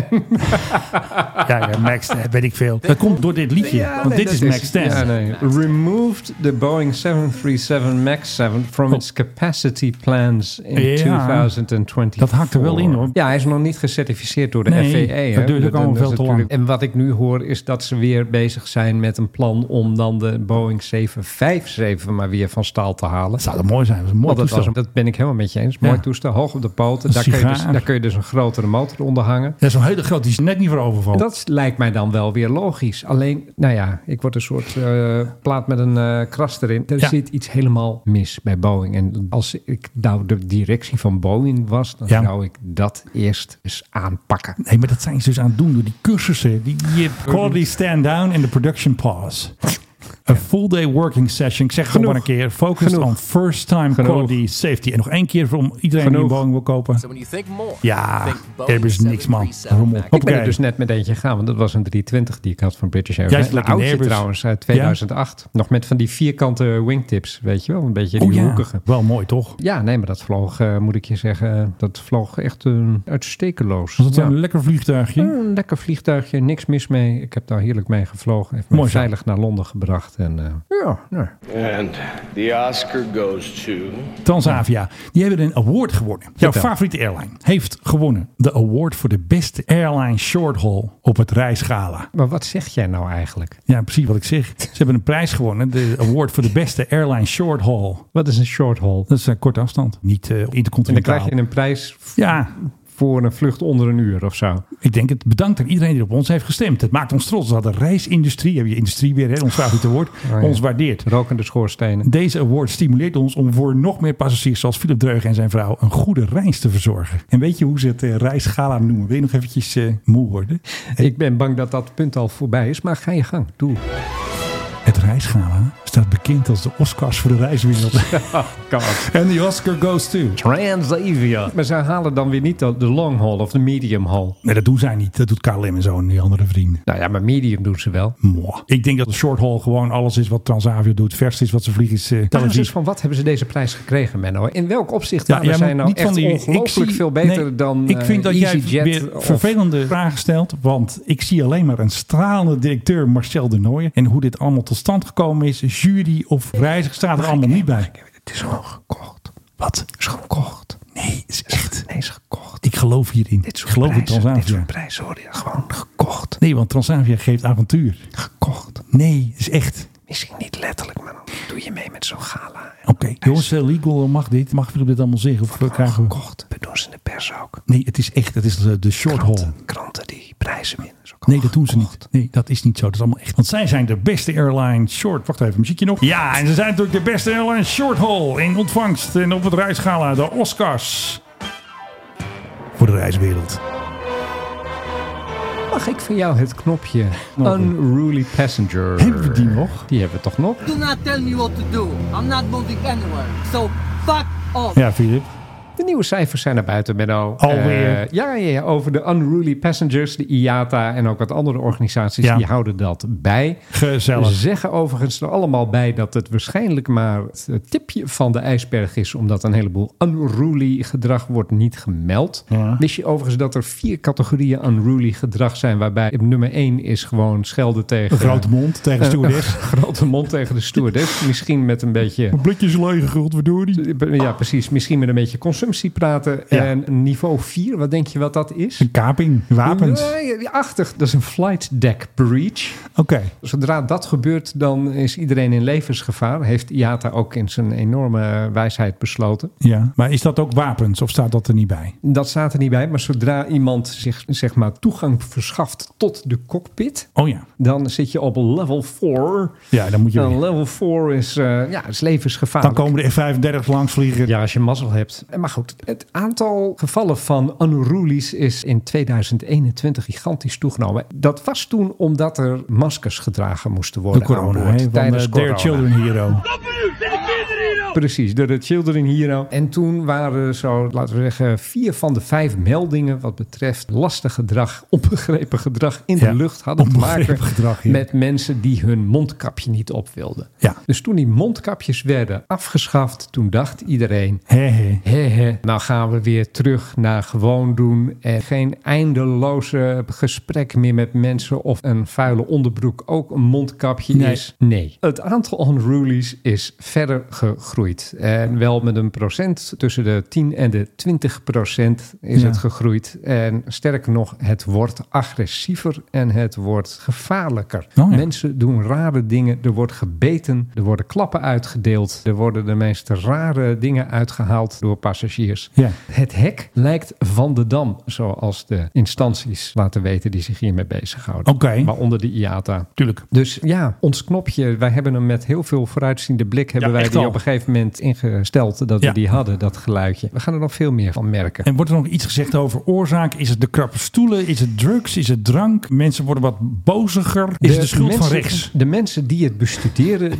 C: ja, ja, MAX 10, [laughs] weet ik veel. Dat komt door dit liedje, ja, want nee, dit is MAX 10.
D: Ja, nee. Removed the Boeing 737 MAX 7 from its capacity plans in
C: Oh. Ja.
D: 2024.
C: Dat hakt er wel in, hoor.
D: Ja, hij is nog niet gecertificeerd door de
C: Nee,
D: FVE. hè.
C: dat duurt ook allemaal
D: is
C: veel te lang.
D: natuurlijk- En wat ik nu hoor is dat ze weer bezig zijn met een plan om dan de Boeing 757 maar weer van staal te halen. Dat
C: zou mooi zijn. Dat, is een mooi
D: dat, was,
C: toestel.
D: dat ben ik helemaal met je eens. Mooi
C: Ja.
D: toestel, hoog op de poten.
C: Een
D: Daar kun, je dus,
C: sigaar.
D: daar kun je dus een grotere motor onder hangen.
C: Ja, zo'n hele grote die is net niet voor overval.
D: Dat lijkt mij dan wel weer logisch. Alleen, nou ja, ik word een soort eh, plaat met een eh, kras erin. Er
C: Ja.
D: zit iets helemaal mis bij Boeing. En als ik nou de directie van Boeing was, dan
C: Ja.
D: zou ik dat eerst eens aanpakken.
C: Nee, maar dat zijn ze dus aan het doen door die cursussen. Die, die quality stand down en de production pause. A full day working session. Ik zeg gewoon maar een keer. Focused
D: Genoeg.
C: on first time
D: Genoeg.
C: quality safety. En nog één keer voor iedereen die
D: Genoeg.
C: een Boeing wil kopen. Ja, er is niks man. Rommel.
D: Ik ben er
C: Hoppakee.
D: dus net met eentje gegaan, want dat was een 320 die ik had van British Airways.
C: Juist lekker
D: Een oudje
C: Airbus.
D: trouwens, uit 2008. Nog met van die vierkante wingtips, weet je wel? Een beetje die
C: Oh ja,
D: hoekige.
C: wel mooi toch?
D: Ja, nee, maar dat vloog, eh, moet ik je zeggen, dat vloog echt eh, uitstekeloos.
C: Was het
D: Ja.
C: een lekker vliegtuigje?
D: Oh, Een lekker vliegtuigje, niks mis mee. Ik heb daar heerlijk mee gevlogen. Heeft me
C: Mooi zo.
D: veilig naar Londen gebracht. En, eh, ja, nee.
H: And the Oscar goes to.
C: Transavia. Die hebben een award gewonnen. Jouw
D: Vertel.
C: favoriete airline heeft gewonnen de award voor de beste airline short haul op het reisgala.
D: Maar wat zeg jij nou eigenlijk?
C: Ja, precies wat ik zeg. Ze hebben een prijs gewonnen. De award voor de beste airline short haul.
D: Wat is een short haul?
C: Dat is een korte afstand. Niet eh
D: En dan
C: intercontinentaal.
D: krijg je een prijs v-
C: Ja,
D: voor een vlucht onder een uur of zo.
C: ik denk het. Bedankt aan iedereen die op ons heeft gestemd. Het maakt ons trots dat de reisindustrie, heb je industrie weer, hè, ons favoriete woord,
D: Oh, ja.
C: ons waardeert.
D: Rokende schoorstenen.
C: Deze award stimuleert ons om voor nog meer passagiers zoals Philip Dreugen en zijn vrouw een goede reis te verzorgen. En weet je hoe ze het eh, reisgala noemen? Wil je nog eventjes eh, moe worden?
D: Ik ben bang dat dat punt al voorbij is, maar ga je gang. Doe.
C: Het reisgala staat bekend als de Oscars voor de reiswereld.
D: [laughs] God.
C: En die Oscar goes to...
D: Transavia. Maar ze halen dan weer niet de de long haul of de medium haul.
C: Nee, dat doen zij niet. Dat doet KLM en zo en die andere vrienden.
D: Nou ja, maar medium doen ze wel.
C: Mwah. Ik denk dat de short haul gewoon alles is wat Transavia doet. Vers is wat ze vliegen is eh,
D: Basis
C: televisie.
D: dus van wat hebben ze deze prijs gekregen, Menno? In welk opzicht
C: Ja,
D: waren
C: jij
D: zij
C: moet
D: nou
C: niet
D: echt
C: van die- ik
D: ongelooflijk
C: zie-
D: veel beter
C: nee,
D: dan
C: Ik vind
D: eh,
C: dat jij
D: EasyJet
C: weer
D: of-
C: vervelende vragen stelt. Want ik zie alleen maar een stralende directeur Marcel de Nooijen. En hoe dit allemaal tot stand gekomen is. Jury of reiziger staat er allemaal niet bij.
D: Het is gewoon gekocht.
C: Wat?
D: Het is gekocht.
C: Nee, is echt.
D: Nee, is gekocht.
C: Ik geloof hierin.
D: Dit soort
C: ik geloof in
D: prijzen, dit
C: Transavia.
D: soort prijzen hoor je gewoon gekocht.
C: Nee, want Transavia geeft avontuur.
D: Gekocht.
C: Nee, is echt.
D: Misschien niet letterlijk, maar dan doe je mee met zo'n gala.
C: Oké, jongens, eh, legal mag dit. Mag Philip dit allemaal zeggen? Of eh, krijgen we...
D: Gekocht. We doen ze in de pers ook.
C: Nee, het is echt. Het is eh, de, de short haul.
D: Kranten, kranten die prijzen winnen. is ook
C: Nee,
D: allemaal
C: dat doen ze
D: gekocht.
C: niet. Nee, dat is niet zo. Dat is allemaal echt. Want zij zijn de beste airline short. Wacht even, muziekje nog. Ja, en ze zijn natuurlijk de beste airline short haul in ontvangst en op het reisgala de Oscars voor de reiswereld.
D: Mag ik van jou het knopje
C: Nou,
D: Unruly Passenger?
C: Hebben we die nog?
D: Die hebben we toch nog?
M: Do not tell me what to do. I'm not moving anywhere. So fuck off.
C: Ja, Filip.
D: De nieuwe cijfers zijn naar buiten, Benno.
C: Alweer?
D: Eh, ja, ja, ja, over de Unruly Passengers, de IATA en ook wat andere organisaties.
C: Ja.
D: Die houden dat bij. Ze
C: Gezellig.
D: zeggen overigens er allemaal bij dat het waarschijnlijk maar het tipje van de ijsberg is. Omdat een heleboel unruly gedrag wordt niet gemeld.
C: Ja.
D: Wist je overigens dat er vier categorieën unruly gedrag zijn. Waarbij nummer één is gewoon schelden tegen...
C: Een grote mond tegen de
D: Eh,
C: stewardess.
D: een grote mond tegen de stewardess. Misschien met een beetje...
C: Blikjes leeg, godverdorie.
D: Ja, precies. Misschien met een beetje consumptie praten.
C: Ja.
D: En niveau 4, wat denk je wat dat is?
C: Een kaping, wapens. Oké.
D: Nee, achtig. Dat is een flight deck breach. Zodra dat gebeurt, dan is iedereen in levensgevaar. Heeft IATA ook in zijn enorme wijsheid besloten.
C: Ja, maar is dat ook wapens of staat dat er niet bij?
D: Dat staat er niet bij, maar zodra iemand zich zeg maar, toegang verschaft tot de cockpit,
C: Oh ja.
D: dan zit je op level 4.
C: Ja, dan moet je.
D: En
C: weer.
D: level 4 is, eh, ja, is
C: Dan
D: levensgevaarlijk.
C: komen de F-35 langs vliegen.
D: Ja, als je mazzel hebt. Maar goed, het aantal gevallen van unrulies is in 2021 gigantisch toegenomen. Dat was toen omdat er maskers gedragen moesten
C: De
D: worden
C: corona,
D: aan boord
C: hè? Van,
D: tijdens
C: eh, Dear
D: corona.
C: Children Hero.
D: Precies, door de Children Hero. En toen waren er zo, laten we zeggen, vier van de vijf meldingen wat betreft lastig gedrag, onbegrepen gedrag in
C: Ja,
D: de lucht hadden te maken
C: onbegrepen gedrag, ja.
D: met mensen die hun mondkapje niet op wilden.
C: Ja.
D: Dus toen die mondkapjes werden afgeschaft, toen dacht iedereen,
C: Hé, hé.
D: Hé, hé. Nou gaan we weer terug naar gewoon doen. En geen eindeloze gesprek meer met mensen of een vuile onderbroek ook een mondkapje
C: Nee.
D: is. Nee. Het aantal unrulies is verder gegroeid. gegroeid. En wel met een procent tussen de 10 en de 20 procent is
C: Ja.
D: het gegroeid. En sterker nog, het wordt agressiever en het wordt gevaarlijker.
C: Oh ja.
D: Mensen doen rare dingen. Er wordt gebeten. Er worden klappen uitgedeeld. Er worden de meest rare dingen uitgehaald door passagiers.
C: Ja.
D: Het hek lijkt van de dam, zoals de instanties laten weten die zich hiermee bezighouden.
C: Oké.
D: Waaronder de IATA.
C: Tuurlijk.
D: Dus ja, ons knopje, wij hebben hem met heel veel vooruitziende blik hebben
C: Ja,
D: wij
C: echt
D: die
C: al.
D: op een gegeven moment ingesteld dat
C: Ja.
D: we die hadden, dat geluidje. We gaan er nog veel meer van merken.
C: En wordt er nog iets gezegd over oorzaak? Is het de krappe stoelen? Is het drugs? Is het drank? Mensen worden wat boziger. Is het de schuld
D: mensen-
C: van rechts?
D: De mensen die het bestuderen,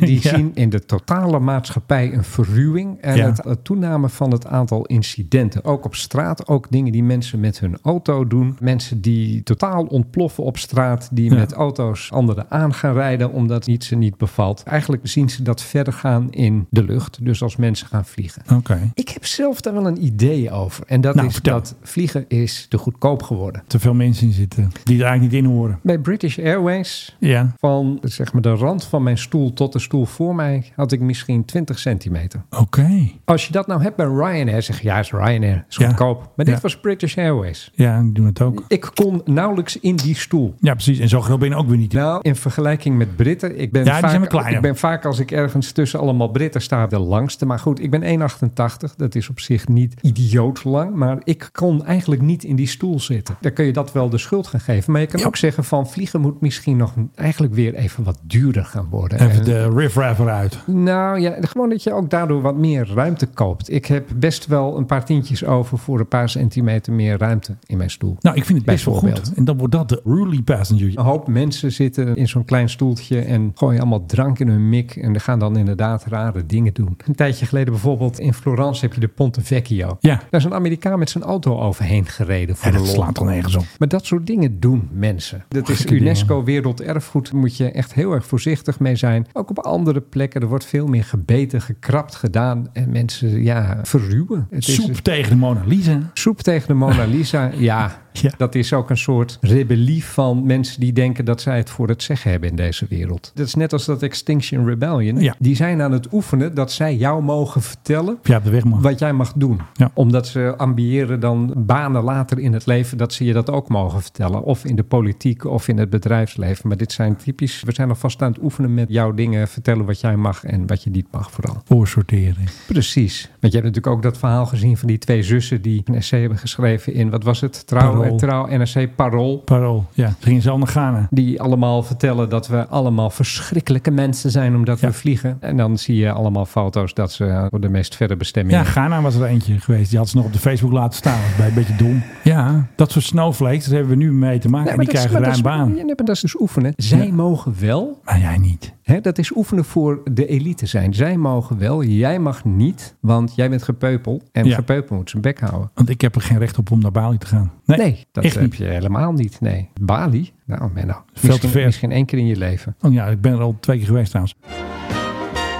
C: [laughs]
D: die
C: Ja.
D: zien in de totale maatschappij een verruwing en
C: Ja.
D: het, het toename van het aantal incidenten. Ook op straat, ook dingen die mensen met hun auto doen. Mensen die totaal ontploffen op straat, die
C: Ja.
D: met auto's anderen aan gaan rijden omdat iets ze niet bevalt. Eigenlijk zien ze dat verder gaan in de lucht, dus als mensen gaan vliegen.
C: Oké.
D: Ik heb zelf daar wel een idee over. En dat
C: Nou,
D: is
C: vertel.
D: dat vliegen is te goedkoop geworden.
C: Te veel mensen in zitten die er eigenlijk niet in horen.
D: Bij British Airways,
C: Ja.
D: van zeg maar, de rand van mijn stoel tot de stoel voor mij, had ik misschien 20 centimeter.
C: Oké.
D: Als je dat nou hebt bij Ryanair, zeg je ja, is Ryanair, is
C: Ja.
D: goedkoop. Maar dit
C: Ja.
D: was British Airways.
C: Ja, die doen het ook.
D: Ik kon nauwelijks in die stoel.
C: Ja, precies. En zo groot ben je ook weer niet.
D: Nou, in vergelijking met Britten, ik ben,
C: Ja, die
D: vaak,
C: zijn wel kleiner.
D: ik ben vaak als ik ergens tussen allemaal Britten sta, de langste. Maar goed, ik ben 1,88. Dat is op zich niet idioot lang. Maar ik kon eigenlijk niet in die stoel zitten. Dan kun je dat wel de schuld gaan geven. Maar je kan ook zeggen van vliegen moet misschien nog eigenlijk weer even wat duurder gaan worden.
C: Even
D: En-
C: de riffraff eruit.
D: nou ja, gewoon dat je ook daardoor wat meer ruimte koopt. Ik heb best wel een paar tientjes over voor een paar centimeter meer ruimte in mijn stoel.
C: Nou, ik vind het best wel goed.
D: Bijvoorbeeld. Oh,
C: En dan wordt dat de ruly passenger.
D: Een hoop mensen zitten in zo'n klein stoeltje en gooien allemaal drank in hun mik. En gaan dan inderdaad rare dingen doen. Een tijdje geleden bijvoorbeeld in Florence heb je de Ponte Vecchio.
C: Ja.
D: Daar is een Amerikaan met zijn auto overheen gereden voor
C: En
D: de
C: dat
D: lol.
C: slaat toch nergens op.
D: Maar dat soort dingen doen mensen. Dat is
C: Gekke dingen.
D: UNESCO werelderfgoed. Daar moet je echt heel erg voorzichtig mee zijn. Ook op andere plekken. Er wordt veel meer gebeten, gekrapt gedaan. En mensen ja, verruwen. Het is-
C: Soep tegen de Mona Lisa.
D: Soep tegen de Mona
C: [laughs]
D: Lisa, ja,
C: Ja.
D: Dat is ook een soort rebellie van mensen die denken dat zij het voor het zeggen hebben in deze wereld. Dat is net als dat Extinction Rebellion.
C: Ja.
D: Die zijn aan het oefenen dat zij jou mogen vertellen
C: Ja, op de weg man.
D: wat jij mag doen.
C: Ja.
D: Omdat ze ambiëren dan banen later in het leven dat ze je dat ook mogen vertellen. Of in de politiek of in het bedrijfsleven. Maar dit zijn typisch, we zijn alvast aan het oefenen met jouw dingen. Vertellen wat jij mag en wat je niet mag vooral.
C: Voorsortering.
D: Precies. Want je hebt natuurlijk ook dat verhaal gezien van die twee zussen die een essay hebben geschreven in, wat was het? Trouw,
C: Parool.
D: eh, trouw NRC Parool.
C: Parool. Ja. Ze gingen zelf naar Ghana.
D: Die allemaal vertellen dat we allemaal verschrikkelijke mensen zijn omdat
C: Ja.
D: we vliegen. En dan zie je allemaal foto's dat ze voor de meest verre bestemming.
C: Ja, Ghana was er eentje geweest. Die had ze nog op de Facebook laten staan. Dat is bij een beetje dom. Ja, dat soort snowflakes, daar hebben we nu mee te maken.
D: Nee,
C: en die
D: maar dat is-
C: krijgen
D: maar
C: ruim
D: dat is-
C: baan.
D: ja, nee, maar dat is dus oefenen. Zij
C: Ja.
D: mogen wel,
C: Maar jij niet.
D: Hè, dat is oefenen voor de elite zijn. Zij mogen wel, jij mag niet, want jij bent gepeupel. En
C: Ja.
D: gepeupel moet zijn bek houden.
C: Want ik heb er geen recht op om naar Bali te gaan. Nee,
D: Nee, dat
C: echt
D: heb
C: niet.
D: je helemaal niet. Nee. Bali? Nou, Menno.
C: te
D: Misschien,
C: ver.
D: misschien één keer in je leven.
C: Oh ja, ik ben er al twee keer geweest trouwens.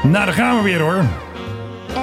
C: Nou, daar gaan we weer hoor.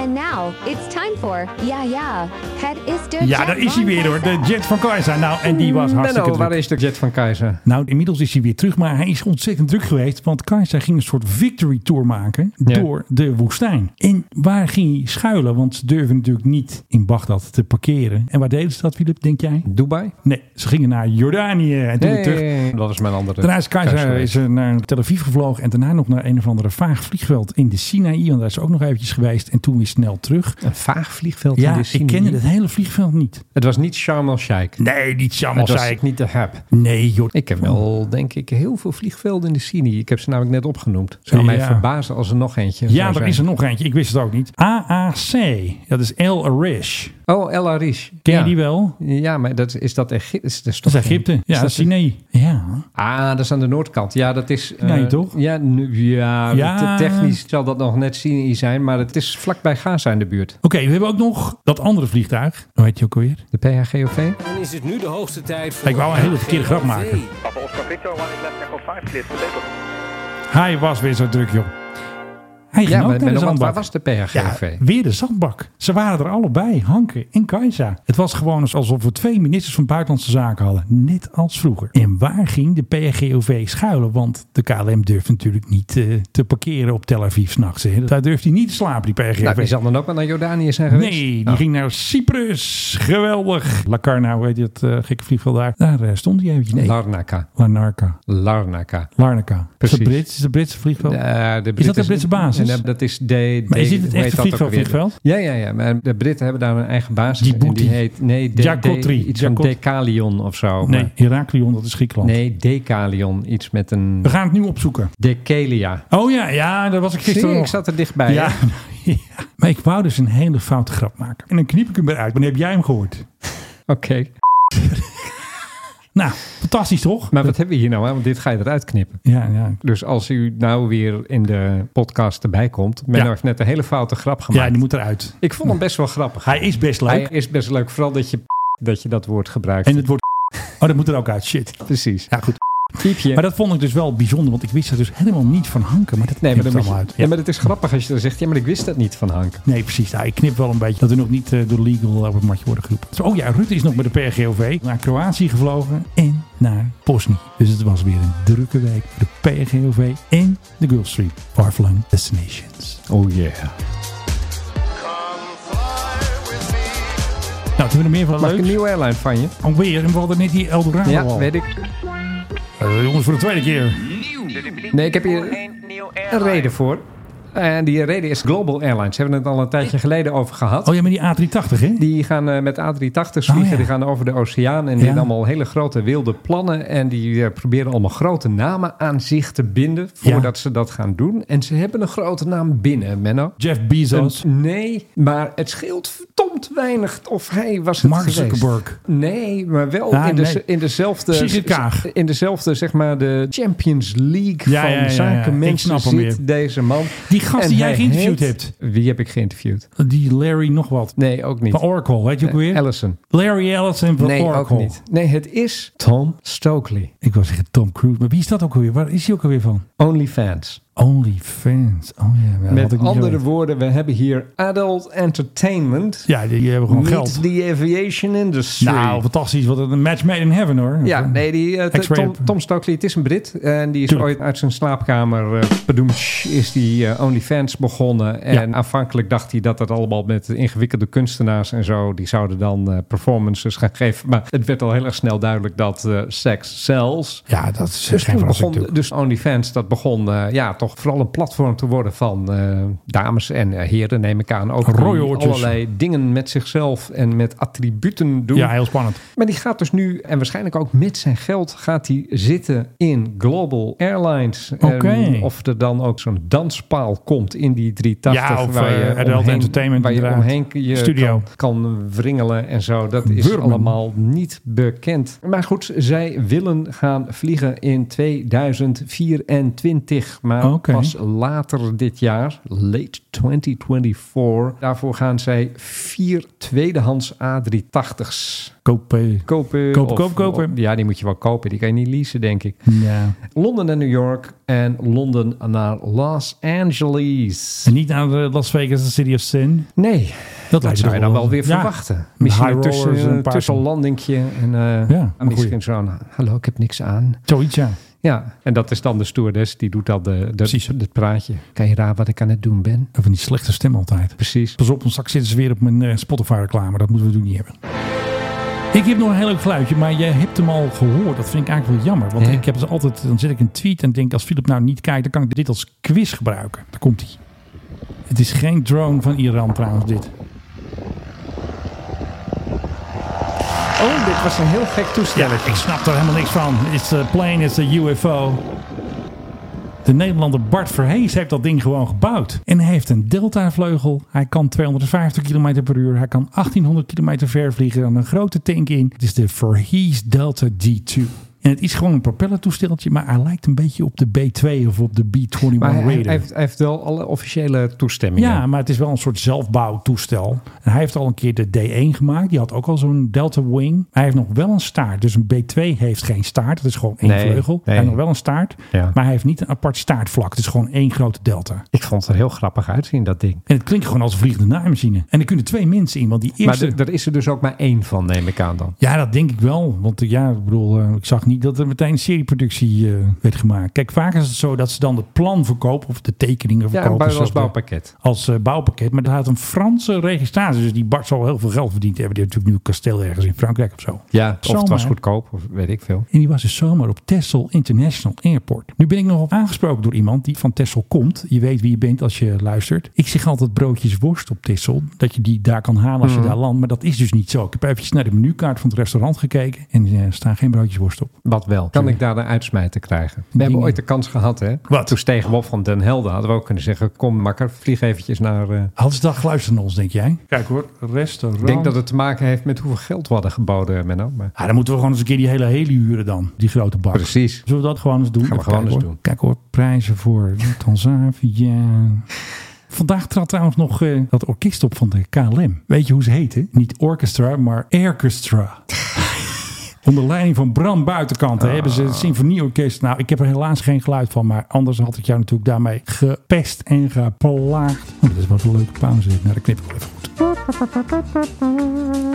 E: And now it's time for Ja Ja. Het is de
C: Ja, daar is hij weer hoor. De jet van Kaiser. Nou, en die was hartstikke
D: Mm, Menno,
C: druk.
D: waar is de jet van Keizer?
C: Nou, inmiddels is hij weer terug, maar hij is ontzettend druk geweest. Want Kaiser ging een soort victory tour maken
D: Ja.
C: door de woestijn. En waar ging hij schuilen? Want ze durven natuurlijk niet in Bagdad te parkeren. En waar deden ze dat, Filip, denk jij?
D: Dubai?
C: Nee, ze gingen naar Jordanië en toen weer terug.
D: dat was mijn andere
C: Daarna is Kaiser
D: keuze.
C: is er naar Tel Aviv gevlogen en daarna nog naar een of andere vaag vliegveld in de Sinaï. Want daar is ze ook nog eventjes geweest en toen weer snel terug.
D: Een vaag vliegveld in
C: Ja,
D: de
C: ik
D: Sinaï.
C: kende het hele vliegveld niet.
D: Het was niet Sharm el-Sheikh.
C: Nee, niet Shamal
D: Het was
C: zei ik.
D: niet de heb.
C: Nee, joh.
D: Ik heb
C: Oh.
D: wel, denk ik, heel veel vliegvelden in de Sinaï. Ik heb ze namelijk net opgenoemd. Zou mij
C: Ja.
D: verbazen als er nog eentje zou
C: Ja, er
D: zijn.
C: is er nog eentje. Ik wist het ook niet. AAC. Dat is El Arish.
D: Oh, El Arish.
C: Ken
D: ja.
C: je die wel?
D: Ja, maar dat, is dat Egypte? Is,
C: Dat is Egypte. Ja, dat is Sinaï. Ja.
D: Ah, dat is aan de noordkant. Ja, dat is... eh,
C: Nee, toch?
D: Ja, nu, ja,
C: Ja.
D: te- technisch zal dat nog net Sinaï zijn, maar het is vlakbij Gaza in de buurt.
C: Oké, we hebben ook nog dat andere vliegtuig. Hoe heet je ook alweer?
D: De PHGOV?
G: Dan is het nu de hoogste tijd voor...
C: Ik wou een hele verkeerde grap maken.
K: Papa Oscar Victor, one is left echo 5, clear for takeoff.
C: Hij was weer zo druk, joh. Hij ging ook eh, naar de zandbak.
D: Waar was de PHGV?
C: weer de zandbak. Ze waren er allebei, Hanke en Kajsa. Het was gewoon alsof we twee ministers van Buitenlandse Zaken hadden. Net als vroeger. En waar ging de PHGOV schuilen? Want de KLM durft natuurlijk niet eh, te parkeren op Tel Aviv s'nachts. Daar durft hij niet te slapen, die PHGOV.
D: Nou, die zal dan ook wel naar Jordanië zijn geweest.
C: Nee, die
D: Oh.
C: ging naar Cyprus. Geweldig. Lacarna, hoe heet dat eh, gekke vliegveld daar? Daar eh, stond hij eventjes. Nee.
D: Larnaca.
C: Larnaca.
D: Larnaca.
C: Larnaca. Is
D: Precies.
C: dat Brits? Is dat Britse vliegveld?
D: Eh, de
C: Oh. is dat de
D: Britten-
C: Britse basis?
D: En, eh, dat is de,
C: Maar is
D: de-
C: dit het
D: hoe heet
C: echte
D: dat
C: vliegveld,
D: ook alweer?
C: vliegveld?
D: Ja, ja, ja. Maar de Britten hebben daar een eigen basis. en
C: Djibouti.
D: die heet nee, de,
C: Djacotri.
D: de- iets van
C: Djacot-
D: Decalion of zo.
C: nee,
D: maar-
C: Heraklion, dat is Griekenland.
D: nee, Decalion. Iets met een
C: We gaan het nu opzoeken.
D: Decalia.
C: Oh ja, ja, daar was ik
D: Zie
C: gisteren
D: je,
C: nog.
D: ik zat er dichtbij.
C: Ja.
D: hè?
C: [laughs] ja. Maar ik wou dus een hele foute grap maken. En dan kniep ik hem eruit. Wanneer heb jij hem gehoord?
D: [laughs] Oké.
C: Nou, fantastisch toch?
D: Maar wat hebben we hier nou aan? Want dit ga je eruit knippen.
C: Ja, ja.
D: Dus als u nou weer in de podcast erbij komt. Menno
C: Ja.
D: heeft net een hele foute grap
C: ja,
D: gemaakt.
C: die moet eruit.
D: Ik vond hem best wel grappig.
C: Hij is best leuk.
D: Hij is best leuk. Vooral dat je, dat, je dat woord gebruikt.
C: En het wordt... [laughs] Oh, dat moet er ook uit. Shit.
D: Precies.
C: Ja, goed.
D: Piepje.
C: Maar dat vond ik dus wel bijzonder, want ik wist dat dus helemaal niet van Hanken. Maar dat
D: Nee,
C: neemt
D: maar, dan
C: het
D: moet je-
C: allemaal uit.
D: ja, maar het is grappig als je dan zegt, ja, maar ik wist dat niet van Hank.
C: Nee, precies. Nou, ik knip wel een beetje dat we nog niet eh, door legal op het matje worden geroepen. Dus, oh ja, Rutte is nog met de PRGOV naar Kroatië gevlogen en naar Bosnië. Dus het was weer een drukke week voor de PRGOV en de Gulfstream. Farflung Destinations.
D: Oh yeah.
C: Nou, toen we er meer van
D: Mag ik een
C: leuk. Oh,
D: nieuwe airline van je?
C: Alweer, en we hadden net die Eldorado
D: Ja,
C: al.
D: weet ik.
C: Eh, jongens, voor de tweede keer.
D: Nee, ik heb hier een reden voor. En die reden is Global Airlines. Ze hebben het al een tijdje geleden over gehad.
C: Oh ja, maar die A380, hè?
D: Die gaan eh, met A380's vliegen,
C: Oh, ja.
D: die gaan over de oceaan. En die
C: Ja.
D: hebben allemaal hele grote wilde plannen. En die eh, proberen allemaal grote namen aan zich te binden voordat ze dat gaan doen. En ze hebben een grote naam binnen, Menno.
C: Jeff Bezos.
D: Een- nee, maar het scheelt verdomd weinig of hij was het
C: Mark
D: geweest.
C: Zuckerberg.
D: Nee, maar wel
C: Ah,
D: in, de,
C: nee.
D: in dezelfde...
C: Sigrid Kaag.
D: In dezelfde, zeg maar, de Champions League
C: Ja,
D: van
C: ja, ja, ja. Ik
D: zakenmensen
C: snap hem
D: zit
C: weer.
D: deze man.
C: Die gast
D: En
C: die jij
D: hij
C: geïnterviewd
D: heet- Wie heb ik geïnterviewd?
C: Die Larry nog wat.
D: Nee, ook niet.
C: Van Oracle, weet je ook weer?
D: Ellison.
C: Larry Ellison van
D: Nee,
C: Oracle.
D: ook niet. Nee, het is Tom Stokely.
C: Ik was zeggen Tom Cruise, maar wie is dat ook alweer? Waar is hij ook alweer van?
D: OnlyFans.
C: OnlyFans. Oh ja, ja, had
D: Met
C: ik niet
D: andere
C: geweten.
D: woorden, we hebben hier adult entertainment.
C: Ja, die, die hebben gewoon
D: meet
C: geld.
D: the aviation industry.
C: Nou, fantastisch. Wat een match made in heaven hoor.
D: Ja, nee, die, eh,
C: X-ray
D: Tom,
C: op-
D: Tom Stokely, het is een Brit. En die is
C: Tuurlijk.
D: ooit uit zijn slaapkamer, eh padoemtsch, is die eh, OnlyFans begonnen. En aanvankelijk dacht hij dat dat allemaal met ingewikkelde kunstenaars en zo, die zouden dan eh, performances gaan geven. Maar het werd al heel erg snel duidelijk dat eh seks sells.
C: Ja, dat is
D: Dus,
C: geen
D: toen
C: verrassing
D: begon,
C: natuurlijk.
D: dus OnlyFans, dat begon eh, ja, toch vooral een platform te worden van eh, dames en eh, heren, neem ik aan. Ook die
C: Rooioortjes.
D: allerlei dingen met zichzelf en met attributen doen.
C: Ja, heel spannend.
D: Maar die gaat dus nu, en waarschijnlijk ook met zijn geld, gaat hij zitten in Global Airlines. En
C: Oké.
D: of er dan ook zo'n danspaal komt in die 380.
C: Ja, of,
D: waar
C: eh,
D: je
C: Adult
D: omheen-
C: Entertainment
D: Waar je
C: inderdaad.
D: omheen je
C: Studio.
D: Kan, kan wringelen en zo. Dat is
C: Wurmen.
D: allemaal niet bekend. Maar goed, zij willen gaan vliegen in 2024. Maar
C: Oké.
D: pas later dit jaar, late 2024. Daarvoor gaan zij vier tweedehands A380's
C: Kopen.
D: kopen.
C: Kopen,
D: of-
C: kopen, kopen.
D: of- ja, die moet je wel kopen. Die kan je niet leasen, denk ik.
C: Ja.
D: Londen naar New York en Londen naar Los Angeles.
C: En niet naar de Las Vegas, de City of Sin.
D: Nee,
C: Dat,
D: dat
C: lijkt me
D: zou je dan
C: toch
D: wel weer
C: Ja.
D: verwachten.
C: Een
D: Misschien
C: high
D: een tussen,
C: rollers en een paar-
D: tussenlandingje en eh,
C: Ja, maar
D: misschien zo'n eh, hallo, ik heb niks aan.
C: Zoiets, ja.
D: Ja, en dat is dan de stewardess. Die doet dan de,
C: Precies.
D: de, het praatje. Kan je raden wat ik aan het doen ben?
C: En Van die slechte stem altijd.
D: Precies.
C: Pas op, want straks zitten ze weer op mijn eh, Spotify-reclame. Dat moeten we natuurlijk niet hebben. Ik heb nog een heel leuk geluidje, maar jij hebt hem al gehoord. Dat vind ik eigenlijk wel jammer. Want
D: Ja.
C: ik heb ze altijd, dan zet ik een tweet en denk, als Philip nou niet kijkt, dan kan ik dit als quiz gebruiken. Daar komt hij. Het is geen drone van Iran trouwens, dit.
D: Oh, dit was een heel gek toestel.
C: Ja, ik snap er helemaal niks van. It's a plane, it's a UFO. De Nederlander Bart Verhees heeft dat ding gewoon gebouwd. En hij heeft een deltavleugel. Hij kan 250 km per uur. Hij kan 1800 km ver vliegen. En een grote tank in. Het is de Verhees Delta D2. En het is gewoon een propellertoesteltje, maar hij lijkt een beetje op de B2 of op de B21
D: Maar hij, hij
C: Raider.
D: heeft, hij heeft wel alle officiële toestemmingen.
C: Ja, maar het is wel een soort zelfbouwtoestel. En hij heeft al een keer de D1 gemaakt. Die had ook al zo'n Delta Wing. Hij heeft nog wel een staart. Dus een B2 heeft geen staart. Dat is gewoon één
D: Nee,
C: vleugel. Hij
D: nee.
C: heeft nog wel een staart.
D: Ja.
C: Maar hij heeft niet een apart staartvlak. Het is gewoon één grote Delta.
D: Ik vond het er heel grappig uitzien, dat ding.
C: En het klinkt gewoon als een vliegende naaimachine. En er kunnen twee mensen in. Want die eerste...
D: Maar er- er is er dus ook maar één van, neem ik aan dan.
C: Ja, dat denk ik wel. Want eh, ja, ik bedoel, eh, ik zag niet dat er meteen een serieproductie eh, werd gemaakt. Kijk, vaak is het zo dat ze dan het plan verkopen of de tekeningen
D: Ja,
C: verkopen.
D: bouw- als
C: zoals de-
D: bouwpakket.
C: Als eh, bouwpakket. Maar dat had een Franse registratie. Dus die Bart zal heel veel geld verdiend hebben. Die heeft natuurlijk nu een kasteel ergens in Frankrijk of zo.
D: Ja, of het was
C: Zomaar.
D: goedkoop, of weet ik veel.
C: En die was dus zomaar op Texel International Airport. Nu ben ik nogal aangesproken door iemand die van Texel komt. Je weet wie je bent als je luistert. Ik zeg altijd broodjes worst op Texel. Dat je die daar kan halen als je
D: Mhm.
C: daar landt. Maar dat is dus niet zo. Ik heb eventjes naar de menukaart van het restaurant gekeken. En eh, er staan geen broodjes worst op.
D: Wat wel? Kan ik daar een uitsmijter krijgen? We hebben
C: Dingen.
D: ooit de kans gehad, hè? Toen steeg Bob van Den Helden. Hadden we ook kunnen zeggen, kom makker, vlieg eventjes naar... eh,
C: Hadden ze dat geluisterd naar ons, denk jij? Kijk hoor, restaurant.
D: Ik denk dat het te maken heeft met hoeveel geld we hadden geboden, Menno. Maar...
C: Ah, dan moeten we gewoon eens een keer die hele hele huren dan. Die grote bak.
D: Precies.
C: Zullen we dat gewoon eens doen?
D: Gaan we
C: Even
D: gewoon
C: kijken,
D: eens
C: hoor.
D: doen.
C: Kijk hoor, prijzen voor Tanzania. Vandaag trad trouwens nog eh, dat orkest op van de KLM. Weet je hoe ze heten? Niet orchestra, maar orchestra. Onder leiding van Bram Buitenkanten hebben ze
D: Ah.
C: het symfonieorkest. Nou, ik heb er helaas geen geluid van, maar anders had ik jou natuurlijk daarmee gepest en geplaagd. Oh, dat is wat een leuke pauze. Nou, dat knip ik wel even goed.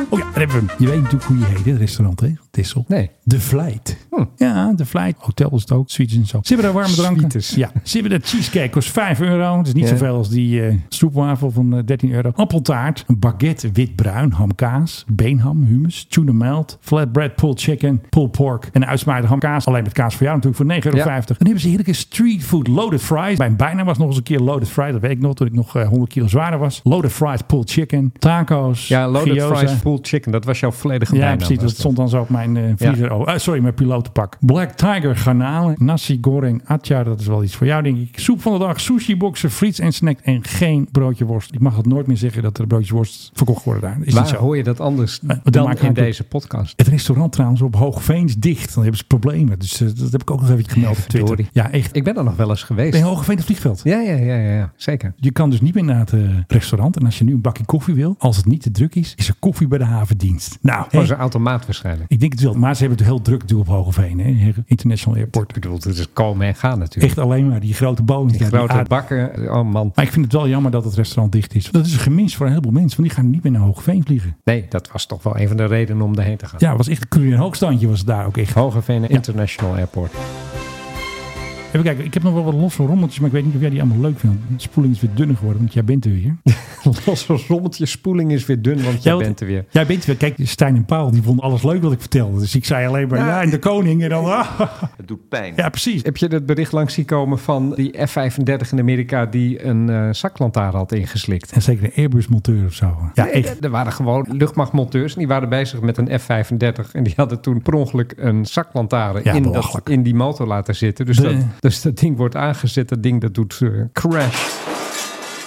C: Oh ja, daar hebben we hem. Je weet natuurlijk hoe je heet, hè, het restaurant, hè? Tissel.
D: Nee. Hm.
C: De Vlijt. Ja, De Vlijt. Hotel is het ook, suites en zo. Ze hebben daar warme dranken. Ja, ze hebben de cheesecake, kost 5 euro. Dat is niet
D: Ja.
C: zoveel als die eh stroopwafel van eh, 13 euro. Appeltaart, een baguette witbruin, hamkaas, beenham, humus, tuna melt, flatbread, pulled chicken, pulled pork en uitsmaaide hamkaas. Alleen met kaas voor jou natuurlijk voor 9,50 euro.
D: Ja.
C: Dan hebben ze heerlijke street food loaded fries. Mijn bijna was nog eens een keer loaded fries. Dat weet ik nog, toen ik nog eh, 100 kilo zwaarder was. Loaded fries, pulled chicken, taco's,
D: Ja, loaded
C: gyoza.
D: fries full chicken. Dat was jouw volledige
C: Ja,
D: bijnaam,
C: precies.
D: was
C: Dat stond dan zo op mijn eh vlieger. Oh, eh, sorry, mijn pilotenpak. Black Tiger garnalen. Nasi goreng atja. Dat is wel iets voor jou, denk ik. Soep van de dag. Sushi boxen. Friets en snack. En geen broodje worst. Ik mag het nooit meer zeggen dat er broodjes worst verkocht worden daar. Is
D: Waar
C: niet zo.
D: hoor je dat anders
C: dat
D: dan
C: maakt
D: in
C: eigenlijk-
D: deze podcast?
C: Het restaurant trouwens op Hoogveen is dicht. Dan hebben ze problemen. Dus eh, dat heb ik ook nog even gemeld op Twitter.
D: Verdorie.
C: Ja, echt.
D: Ik ben er nog wel eens geweest.
C: In Hoogveen het vliegveld.
D: Ja, ja, ja, ja, ja, zeker.
C: Je kan dus niet meer naar het eh, restaurant. En als je nu een bakje koffie wil, als het niet te druk is, is er koffie bij de havendienst. Nou,
D: Dat
C: hey,
D: was een automaat waarschijnlijk.
C: ik denk het wel. Maar ze hebben het heel druk natuurlijk op Hogeveen. Hè? International Airport.
D: Ik bedoel, het is komen en gaan natuurlijk.
C: Echt alleen maar die grote Boeing.
D: Die grote bakken. Oh man.
C: Maar ik vind het wel jammer dat het restaurant dicht is. Dat is een gemis voor een heleboel mensen. Want die gaan niet meer naar Hoogveen vliegen.
D: Nee, dat was toch wel een van de redenen om daarheen te gaan.
C: Ja, het was echt een culinair hoogstandje was het daar ook echt.
D: Hogeveen International Airport. [laughs]
C: Even kijken, ik heb nog wel wat losse rommeltjes. Maar ik weet niet of jij die allemaal leuk vindt. De spoeling is weer dunner geworden, want jij bent er
D: [laughs]
C: weer.
D: Losse rommeltje, spoeling is weer dun, want jij
C: want-
D: bent er weer.
C: Jij bent er weer. Kijk, Stijn en Paul, die vonden alles leuk wat ik vertelde. Dus ik zei alleen maar, ja, en de koning. En dan, ah,
N: Het doet pijn.
C: ja, precies.
D: Heb je het bericht langs zien komen van die F-35 in Amerika die een eh, zaklantaarn had ingeslikt?
C: En zeker een Airbus-monteur of zo. Ja, echt.
D: Er waren gewoon luchtmachtmonteurs en die waren bezig met een F-35. En die hadden toen per ongeluk een zaklantaarn
C: Ja,
D: in, dat,
C: belachelijk.
D: in die motor laten zitten. Dus,
C: De-
D: dat, dus dat ding wordt aangezet, dat ding dat doet eh, crash.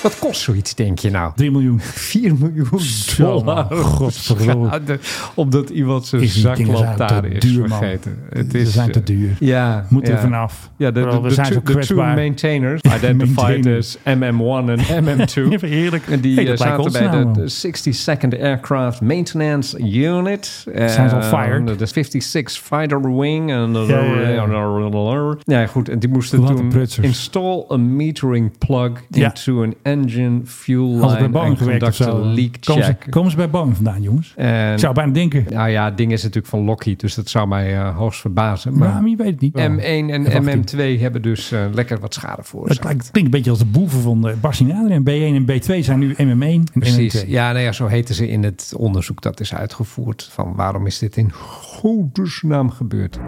D: Wat kost zoiets, denk je nou?
C: 3 miljoen.
D: 4 miljoen
C: Zo,
D: dollar
C: godverdomme.
D: schade, Omdat iemand zijn
C: Is die dingen zijn
D: zaklantaarn
C: te
D: is
C: duur, man.
D: vergeten. Het
C: Ze
D: is,
C: zijn te
D: eh,
C: duur.
D: Ja,
C: Moeten
D: ja.
C: er vanaf.
D: Ja, de,
C: Vooral,
D: de,
C: we
D: de
C: zijn
D: two-
C: zo
D: de two
C: kwetsbaar.
D: maintainers, [laughs] identified
C: Maintainers.
D: as MM1
C: [laughs]
D: en MM2.
C: Heerlijk.
D: En die
C: Hey,
D: eh,
C: dat lijkt
D: zaten
C: ons
D: bij
C: nou, man.
D: de, de 62nd Aircraft Maintenance Unit.
C: Zijn ze al
D: Eh,
C: fired?
D: De 56 Fighter Wing. En
C: Ja, ja,
D: Ja, goed. En die moesten
C: Wat een
D: toen
C: prutsers.
D: install a metering plug
C: Ja.
D: into an engine fuel
C: Als bij
D: line
C: Boeing
D: and
C: gewerkt of
D: conduct a
C: zo.
D: leak
C: Komen ze,
D: check.
C: komen ze bij Boeing vandaan, jongens?
D: En-
C: Ik zou bijna denken.
D: nou ja, het ding is natuurlijk van Lockheed, dus dat zou mij eh, hoogst verbazen.
C: Maar,
D: Maar
C: maar je weet het niet.
D: M1 en
C: Nou, Wacht
D: MM2 hebben dus eh, lekker wat schade
C: Het
D: veroorzaakt.
C: lijkt, het klinkt een beetje als de boeven van eh, Bas en Adrien. B1 en B2 zijn nu MM1 en
D: Precies.
C: MM2.
D: Ja, nou ja, zo heten ze in het onderzoek dat is uitgevoerd. Van waarom is dit in godesnaam gebeurd?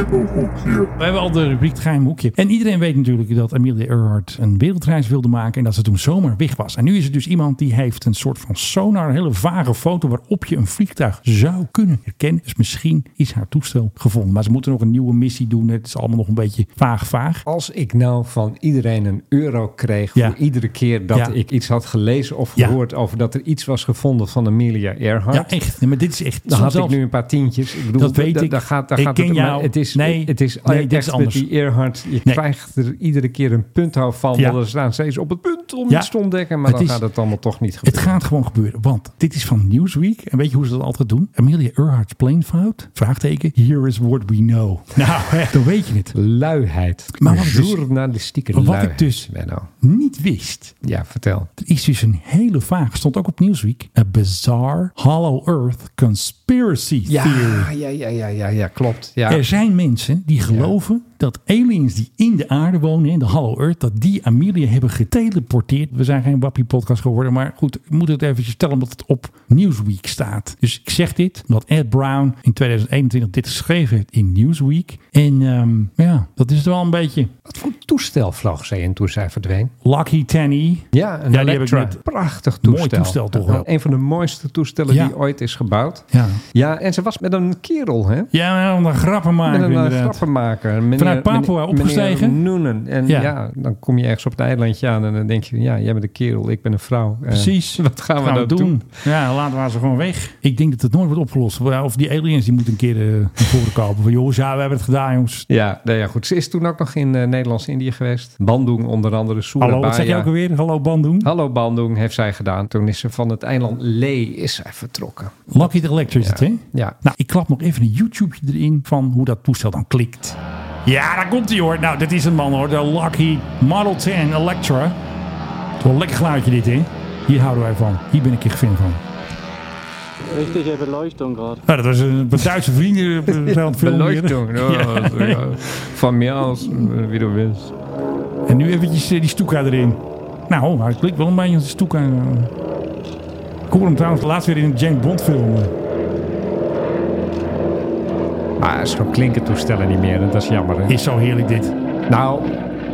C: We hebben al de rubriek het Geheim Hoekje. En iedereen weet natuurlijk dat Amelia Earhart een wereldreis wilde maken. En dat ze toen zomaar weg was. En nu is er dus iemand die heeft een soort van sonar. Een hele vage foto waarop je een vliegtuig zou kunnen herkennen. Dus misschien is haar toestel gevonden. Maar ze moeten nog een nieuwe missie doen. Het is allemaal nog een beetje vaag vaag.
D: Als ik nou van iedereen een euro kreeg
C: Ja.
D: voor iedere keer dat
C: Ja.
D: ik iets had gelezen of
C: Ja.
D: gehoord over dat er iets was gevonden van Amelia Earhart.
C: Ja, echt. Nee, maar dit is echt.
D: Dan had
C: zelfs-
D: ik nu een paar tientjes. Ik bedoel,
C: dat weet
D: da-
C: ik.
D: Daar gaat, daar
C: ik
D: gaat
C: ken
D: het, om.
C: jou.
D: Het is,
C: nee,
D: het is
C: nee,
D: echt
C: dit is anders.
D: met die Earhart. Je
C: Nee.
D: krijgt er iedere keer een punthoud van.
C: Ja.
D: want Er staan steeds op het punt om
C: Ja.
D: iets te ontdekken. Maar
C: Het
D: dan
C: is-
D: gaat het allemaal toch niet
C: Het
D: gebeuren.
C: gaat gewoon gebeuren, want dit is van Newsweek. En weet je hoe ze dat altijd doen? Amelia Earhart's planefout? Vraagteken. Here is what we know.
D: [laughs]
C: Nou, hè, dan weet je het.
D: Luiheid.
C: Maar wat ik dus-
D: Journalistieke
C: wat ik
D: luiheid.
C: dus-
D: Menno.
C: Niet wist.
D: Ja, vertel.
C: Er is dus een hele vaag, stond ook op Newsweek, een bizarre Hollow Earth conspiracy
D: Ja,
C: theory.
D: ja, ja, ja, ja, ja, klopt. Ja.
C: Er zijn mensen die geloven dat aliens die in de aarde wonen, in de Hollow Earth, dat die Amelia hebben geteleporteerd. We zijn geen wappie podcast geworden, maar goed, ik moet het eventjes stellen omdat het op Newsweek staat. Dus ik zeg dit omdat Ed Brown in 2021 dit geschreven heeft in Newsweek. En ehm, ja, dat is het wel een beetje.
D: Wat voor toestel vloog zij in toen zij verdween?
C: Lucky Tanny.
D: Ja, een
C: Ja, die heb
D: Electra.
C: ik net-
D: Prachtig toestel.
C: Mooi toestel toch wel.
D: Een van de mooiste toestellen
C: Ja.
D: die ooit is gebouwd.
C: Ja.
D: Ja, en ze was met een kerel, hè?
C: Ja, om een grappen maken
D: Met een eh,
C: inderdaad.
D: grappenmaker. Meneer-
C: Vanuit Papua
D: meneer-
C: opgestegen.
D: meneer Noonan. En
C: Ja.
D: ja. dan kom je ergens op een eilandje aan en dan denk je... ja, jij bent een kerel, ik ben een vrouw. Eh,
C: Precies.
D: [laughs] Wat gaan we
C: Gaan
D: nou doen?
C: Ja, laten we ze gewoon weg. Ik denk dat het nooit wordt opgelost. Of die aliens die moeten een keer eh, naar voren komen. Van jongens, ja, we hebben het gedaan, jongens.
D: Ja, nou ja, goed. Ze is toen ook nog in eh, Nederlands-Indië geweest. Bandung onder andere, Surabaya.
C: Hallo, wat zeg je ook alweer? Hallo, Bandung.
D: Hallo Bandung heeft zij gedaan. Toen is ze van het eiland Lee is zij vertrokken.
C: Lucky Electric is het, hè?
D: Ja.
C: Nou, ik klap nog even een YouTube erin van hoe dat toestel dan klikt. Ja, daar komt hij hoor. Nou, dit is een man hoor. De Lucky Model 10 Electra. Het is wel een lekker geluidje dit, hè? Hier houden wij van. Hier ben ik echt fan van.
N: Richtige Beleuchtung gerade.
C: Nou, dat was een een Duitse vrienden eh, aan
D: [laughs]
C: het filmen. [laughs]
D: Beleuchtung.
C: Ja.
D: Ja. oh, ja. Van mij als eh, wie du willst.
C: En nu eventjes eh, die stoeka erin. Nou, maar het klinkt wel een beetje als een stoeka. eh. Ik hoor hem trouwens laatst weer in een James Bond film. eh.
D: Maar zo klinken toestellen niet meer. en Dat is jammer. Hè?
C: Is zo heerlijk dit.
D: Nou,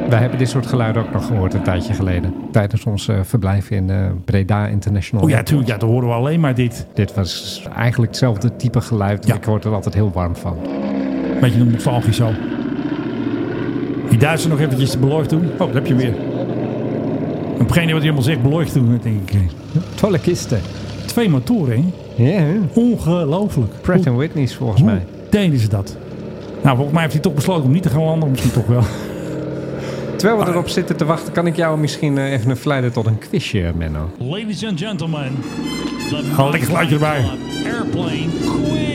D: wij hebben dit soort geluiden ook nog gehoord een tijdje geleden. Tijdens ons eh, verblijf in eh, Breda International.
C: Oh ja, tuurlijk. Ja, dan horen we alleen maar dit.
D: Dit was eigenlijk hetzelfde type geluid. en
C: Ja.
D: Ik word er altijd heel warm van.
C: Beetje een nostalgisch zo. Die Duitsers nog eventjes de belooid doen. Oh, daar heb je hem weer. En op geen idee wat hij helemaal zegt, belooid doen, denk ik. eh.
D: Tolle kisten.
C: Twee motoren, hè?
D: Ja, hè?
C: Ongelooflijk.
D: Pratt Whitney's volgens
C: Hoe
D: mij.
C: deden ze dat? Nou, volgens mij heeft hij toch besloten om niet te gaan landen. Misschien toch wel.
D: Terwijl we erop zitten te wachten, kan ik jou misschien eh, even verleiden tot een quizje, Menno.
C: Ladies and gentlemen, Gewoon Oh, lekker geluidje erbij. Airplane quiz.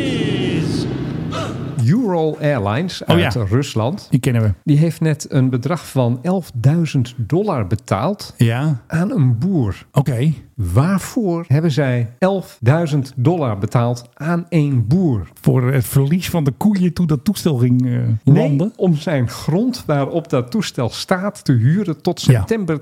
D: Ural Airlines
C: Oh ja.
D: uit Rusland.
C: Die kennen we.
D: Die heeft net een bedrag van 11.000 dollar betaald
C: Ja,
D: aan een boer.
C: oké.
D: Waarvoor hebben zij 11.000 dollar betaald aan één boer?
C: Voor het verlies van de koeien toen dat toestel ging eh, landen.
D: Nee, om zijn grond waarop dat toestel staat te huren tot
C: Ja.
D: september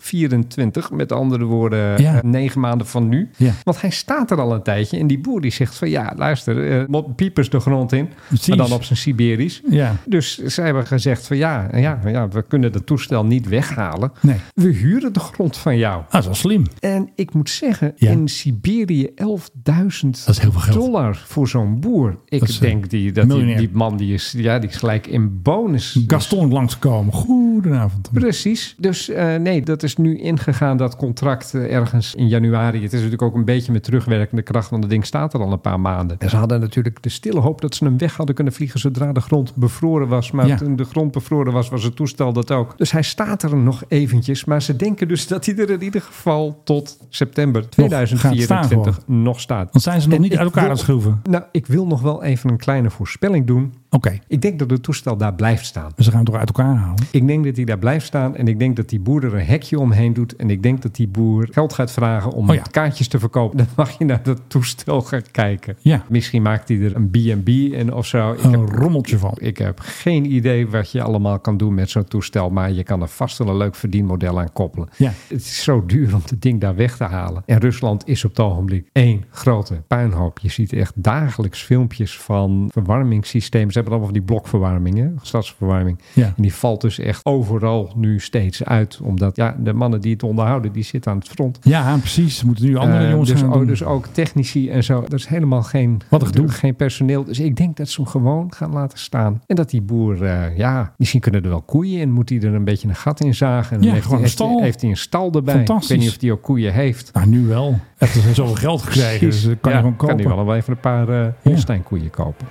D: 2024. Met andere woorden,
C: Ja.
D: eh, negen maanden van nu.
C: Ja.
D: Want hij staat er al een tijdje en die boer die zegt van ja, luister, eh mot- piepers de grond in.
C: Precies.
D: Maar dan op zijn Siberisch.
C: Ja.
D: Dus zij hebben gezegd van ja, ja, ja, we kunnen dat toestel niet weghalen.
C: Nee.
D: We huren de grond van jou.
C: Ah, dat is wel slim.
D: En ik moet zeggen,
C: Ja.
D: in Siberië 11.000
C: is heel veel geld.
D: dollar voor zo'n boer. Ik
C: Dat is, eh,
D: denk die, dat die,
C: miljonair.
D: die man die is, ja, die is gelijk in bonus.
C: Gaston langskomen. Goedenavond.
D: Precies. Dus eh, nee, dat is nu ingegaan, dat contract eh, ergens in januari. Het is natuurlijk ook een beetje met terugwerkende kracht, want het ding staat er al een paar maanden. En ze hadden natuurlijk de stille hoop dat ze hem weg hadden kunnen vliegen zodra de grond bevroren was. Maar
C: Ja.
D: toen de grond bevroren was, was het toestel dat ook. Dus hij staat er nog eventjes. Maar ze denken dus dat hij er in ieder geval tot september
C: gaat staan
D: 2024
C: gewoon.
D: nog staat.
C: Dan zijn ze nog
D: En
C: niet
D: ik
C: uit elkaar
D: wil-
C: aan het schroeven.
D: Nou, ik wil nog wel even een kleine voorspelling doen.
C: Oké,
D: Ik denk dat het toestel daar blijft staan.
C: dus ze gaan hem toch uit elkaar halen.
D: Ik denk dat hij daar blijft staan en ik denk dat die boer er een hekje omheen doet. En ik denk dat die boer geld gaat vragen om
C: Oh ja.
D: kaartjes te verkopen. [laughs] Dan mag je naar dat toestel gaan kijken.
C: Ja.
D: Misschien maakt hij er een B&B in of zo. Ik
C: Een
D: heb,
C: rommeltje van.
D: ik heb geen idee wat je allemaal kan doen met zo'n toestel. Maar je kan er vast wel een leuk verdienmodel aan koppelen.
C: Ja.
D: Het is zo duur om het ding daar weg te halen. En Rusland is op het ogenblik één grote puinhoop. Je ziet echt dagelijks filmpjes van verwarmingssystemen. hebben allemaal van die blokverwarmingen, stadsverwarming. Ja. En die valt dus echt overal nu steeds uit. Omdat ja, de mannen die het onderhouden, die zitten aan het front.
C: Ja, precies. Er moeten nu andere uh, jongens
D: dus,
C: gaan
D: oh, Dus ook technici en zo. Dat is helemaal geen,
C: Wat er doen.
D: geen personeel. Dus ik denk dat ze hem gewoon gaan laten staan. En dat die boer, uh, ja, misschien kunnen er wel koeien in. Moet hij er een beetje een gat in zagen. En
C: ja,
D: heeft,
C: gewoon
D: heeft,
C: een stal.
D: Heeft hij een stal erbij. Ik weet niet of hij ook koeien heeft.
C: Nou, nu wel. Heeft er zoveel geld gekregen. Dus kan hij ja, gewoon kopen.
D: kan hij wel even een paar uh, Holstein koeien kopen.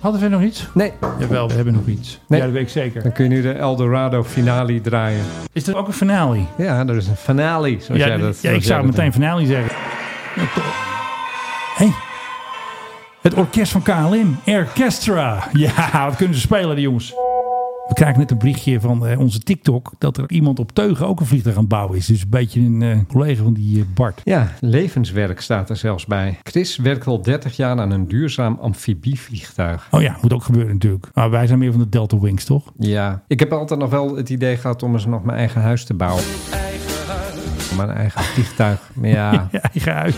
C: Hadden we nog iets?
D: Nee.
C: Jawel, we hebben nog iets.
D: Nee.
C: Ja, dat weet ik zeker.
D: Dan kun je nu de Eldorado finale draaien.
C: Is dat ook een finale?
D: Ja, dat is een finale. Zoals
C: ja,
D: jij dat,
C: ja ik zou
D: dat
C: meteen finale zeggen. Hey. Het orkest van KLM, Orchestra. Ja, wat kunnen ze spelen, die jongens? We krijgen net een berichtje van uh, onze TikTok dat er iemand op Teugen ook een vliegtuig aan het bouwen is. Dus een beetje een uh, collega van die uh, Bart.
D: Ja, levenswerk staat er zelfs bij. Chris werkt al 30 jaar aan een duurzaam amfibievliegtuig.
C: Oh ja, moet ook gebeuren natuurlijk. Maar wij zijn meer van de Delta Wings, toch?
D: Ja, ik heb altijd nog wel het idee gehad om eens nog mijn eigen huis te bouwen. Mijn eigen vliegtuig. Maar [laughs] ja.
C: [laughs] ja eigen huis.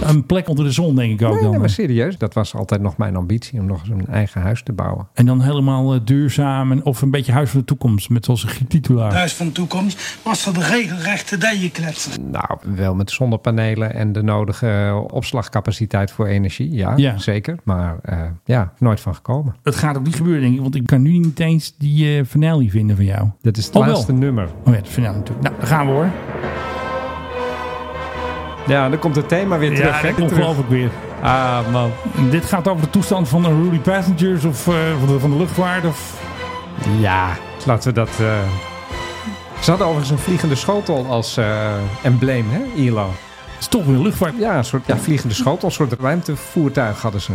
C: Een plek onder de zon, denk ik ook.
D: Nee,
C: dan.
D: Nee, maar serieus, dat was altijd nog mijn ambitie om nog eens een eigen huis te bouwen.
C: En dan helemaal uh, duurzaam en, of een beetje Huis van de Toekomst met zoals een titulaar.
B: Huis van de Toekomst was er de regelrechte dijen kletsen.
D: Nou, wel met zonnepanelen en de nodige opslagcapaciteit voor energie. Ja, ja. zeker. Maar uh, ja, nooit van gekomen.
C: Het gaat ook niet gebeuren, denk ik, want ik kan nu niet eens die uh, finale vinden van jou.
D: Dat is het oh, laatste
C: wel.
D: nummer.
C: Oh ja, het finale natuurlijk. Nou, daar gaan we hoor.
D: Ja, dan komt het thema weer terug.
C: Ja, ongelooflijk weer.
D: Ah, man.
C: Dit gaat over de toestand van de Rudy Passengers of uh, van, de, van, de, luchtvaart. Of...
D: Ja, laten we dat... Uh... Ze hadden overigens een vliegende schotel als uh, embleem, hè, ILO.
C: Het is toch weer luchtvaart.
D: Ja, een soort ja, vliegende schotel, een soort ruimtevoertuig hadden ze.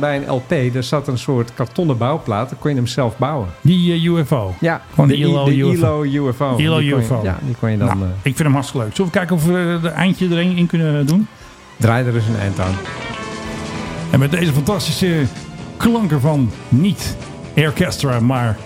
D: Bij een LP, daar zat een soort kartonnen bouwplaat. Dan kon je hem zelf bouwen.
C: Die uh, UFO?
D: Ja,
C: gewoon de,
D: de, ILO,
C: de
D: UFO. ILO UFO.
C: ILO
D: die
C: UFO.
D: Je, ja, die kon je dan... Nou,
C: ik vind hem hartstikke leuk. Zullen we kijken of we er eindje er een in kunnen doen?
D: Draai er eens een eind aan.
C: En met deze fantastische klanken van niet Orchestra, maar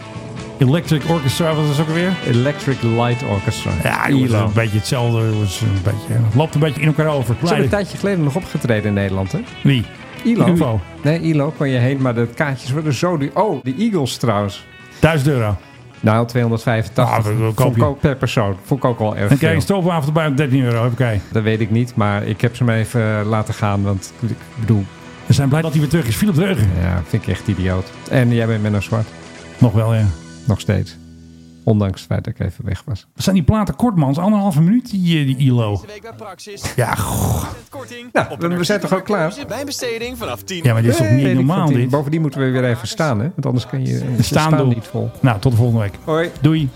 C: Electric Orchestra, wat is ook alweer?
D: Electric Light Orchestra.
C: Ja, jongens, een beetje hetzelfde. Was een beetje, het loopt een beetje in elkaar over.
D: Ze hebben een tijdje geleden nog opgetreden in Nederland, hè?
C: Wie?
D: ILO. Ufo. Nee, ILO kon je heen, maar de kaartjes worden zo duur. Oh, de Eagles trouwens.
C: 1000 euro.
D: Nou, 285
C: ah,
D: vond ik ook per persoon. Vond ik ook al erg
C: En krijg je een stroopwafel erbij op 13 euro. Okay.
D: Dat weet ik niet, maar ik heb ze maar even uh, laten gaan. Want ik bedoel...
C: We zijn blij dat hij weer terug is. Philip Dreugen.
D: Ja, vind ik echt idioot. En jij bent Menno Zwart.
C: Nog wel, ja.
D: Nog steeds. Ondanks het feit dat ik even weg was.
C: Zijn die platen kort, man? Anderhalve minuut, die, eh, die ILO. Ja, goh.
D: Nou, we zijn toch ook klaar?
O: Bij besteding vanaf 10.
C: Ja, maar dit is toch niet normaal, dit?
D: Bovendien moeten we weer even staan, hè? Want anders kan je, je
C: staan
D: niet vol.
C: Nou, tot de volgende week.
D: Hoi.
C: Doei.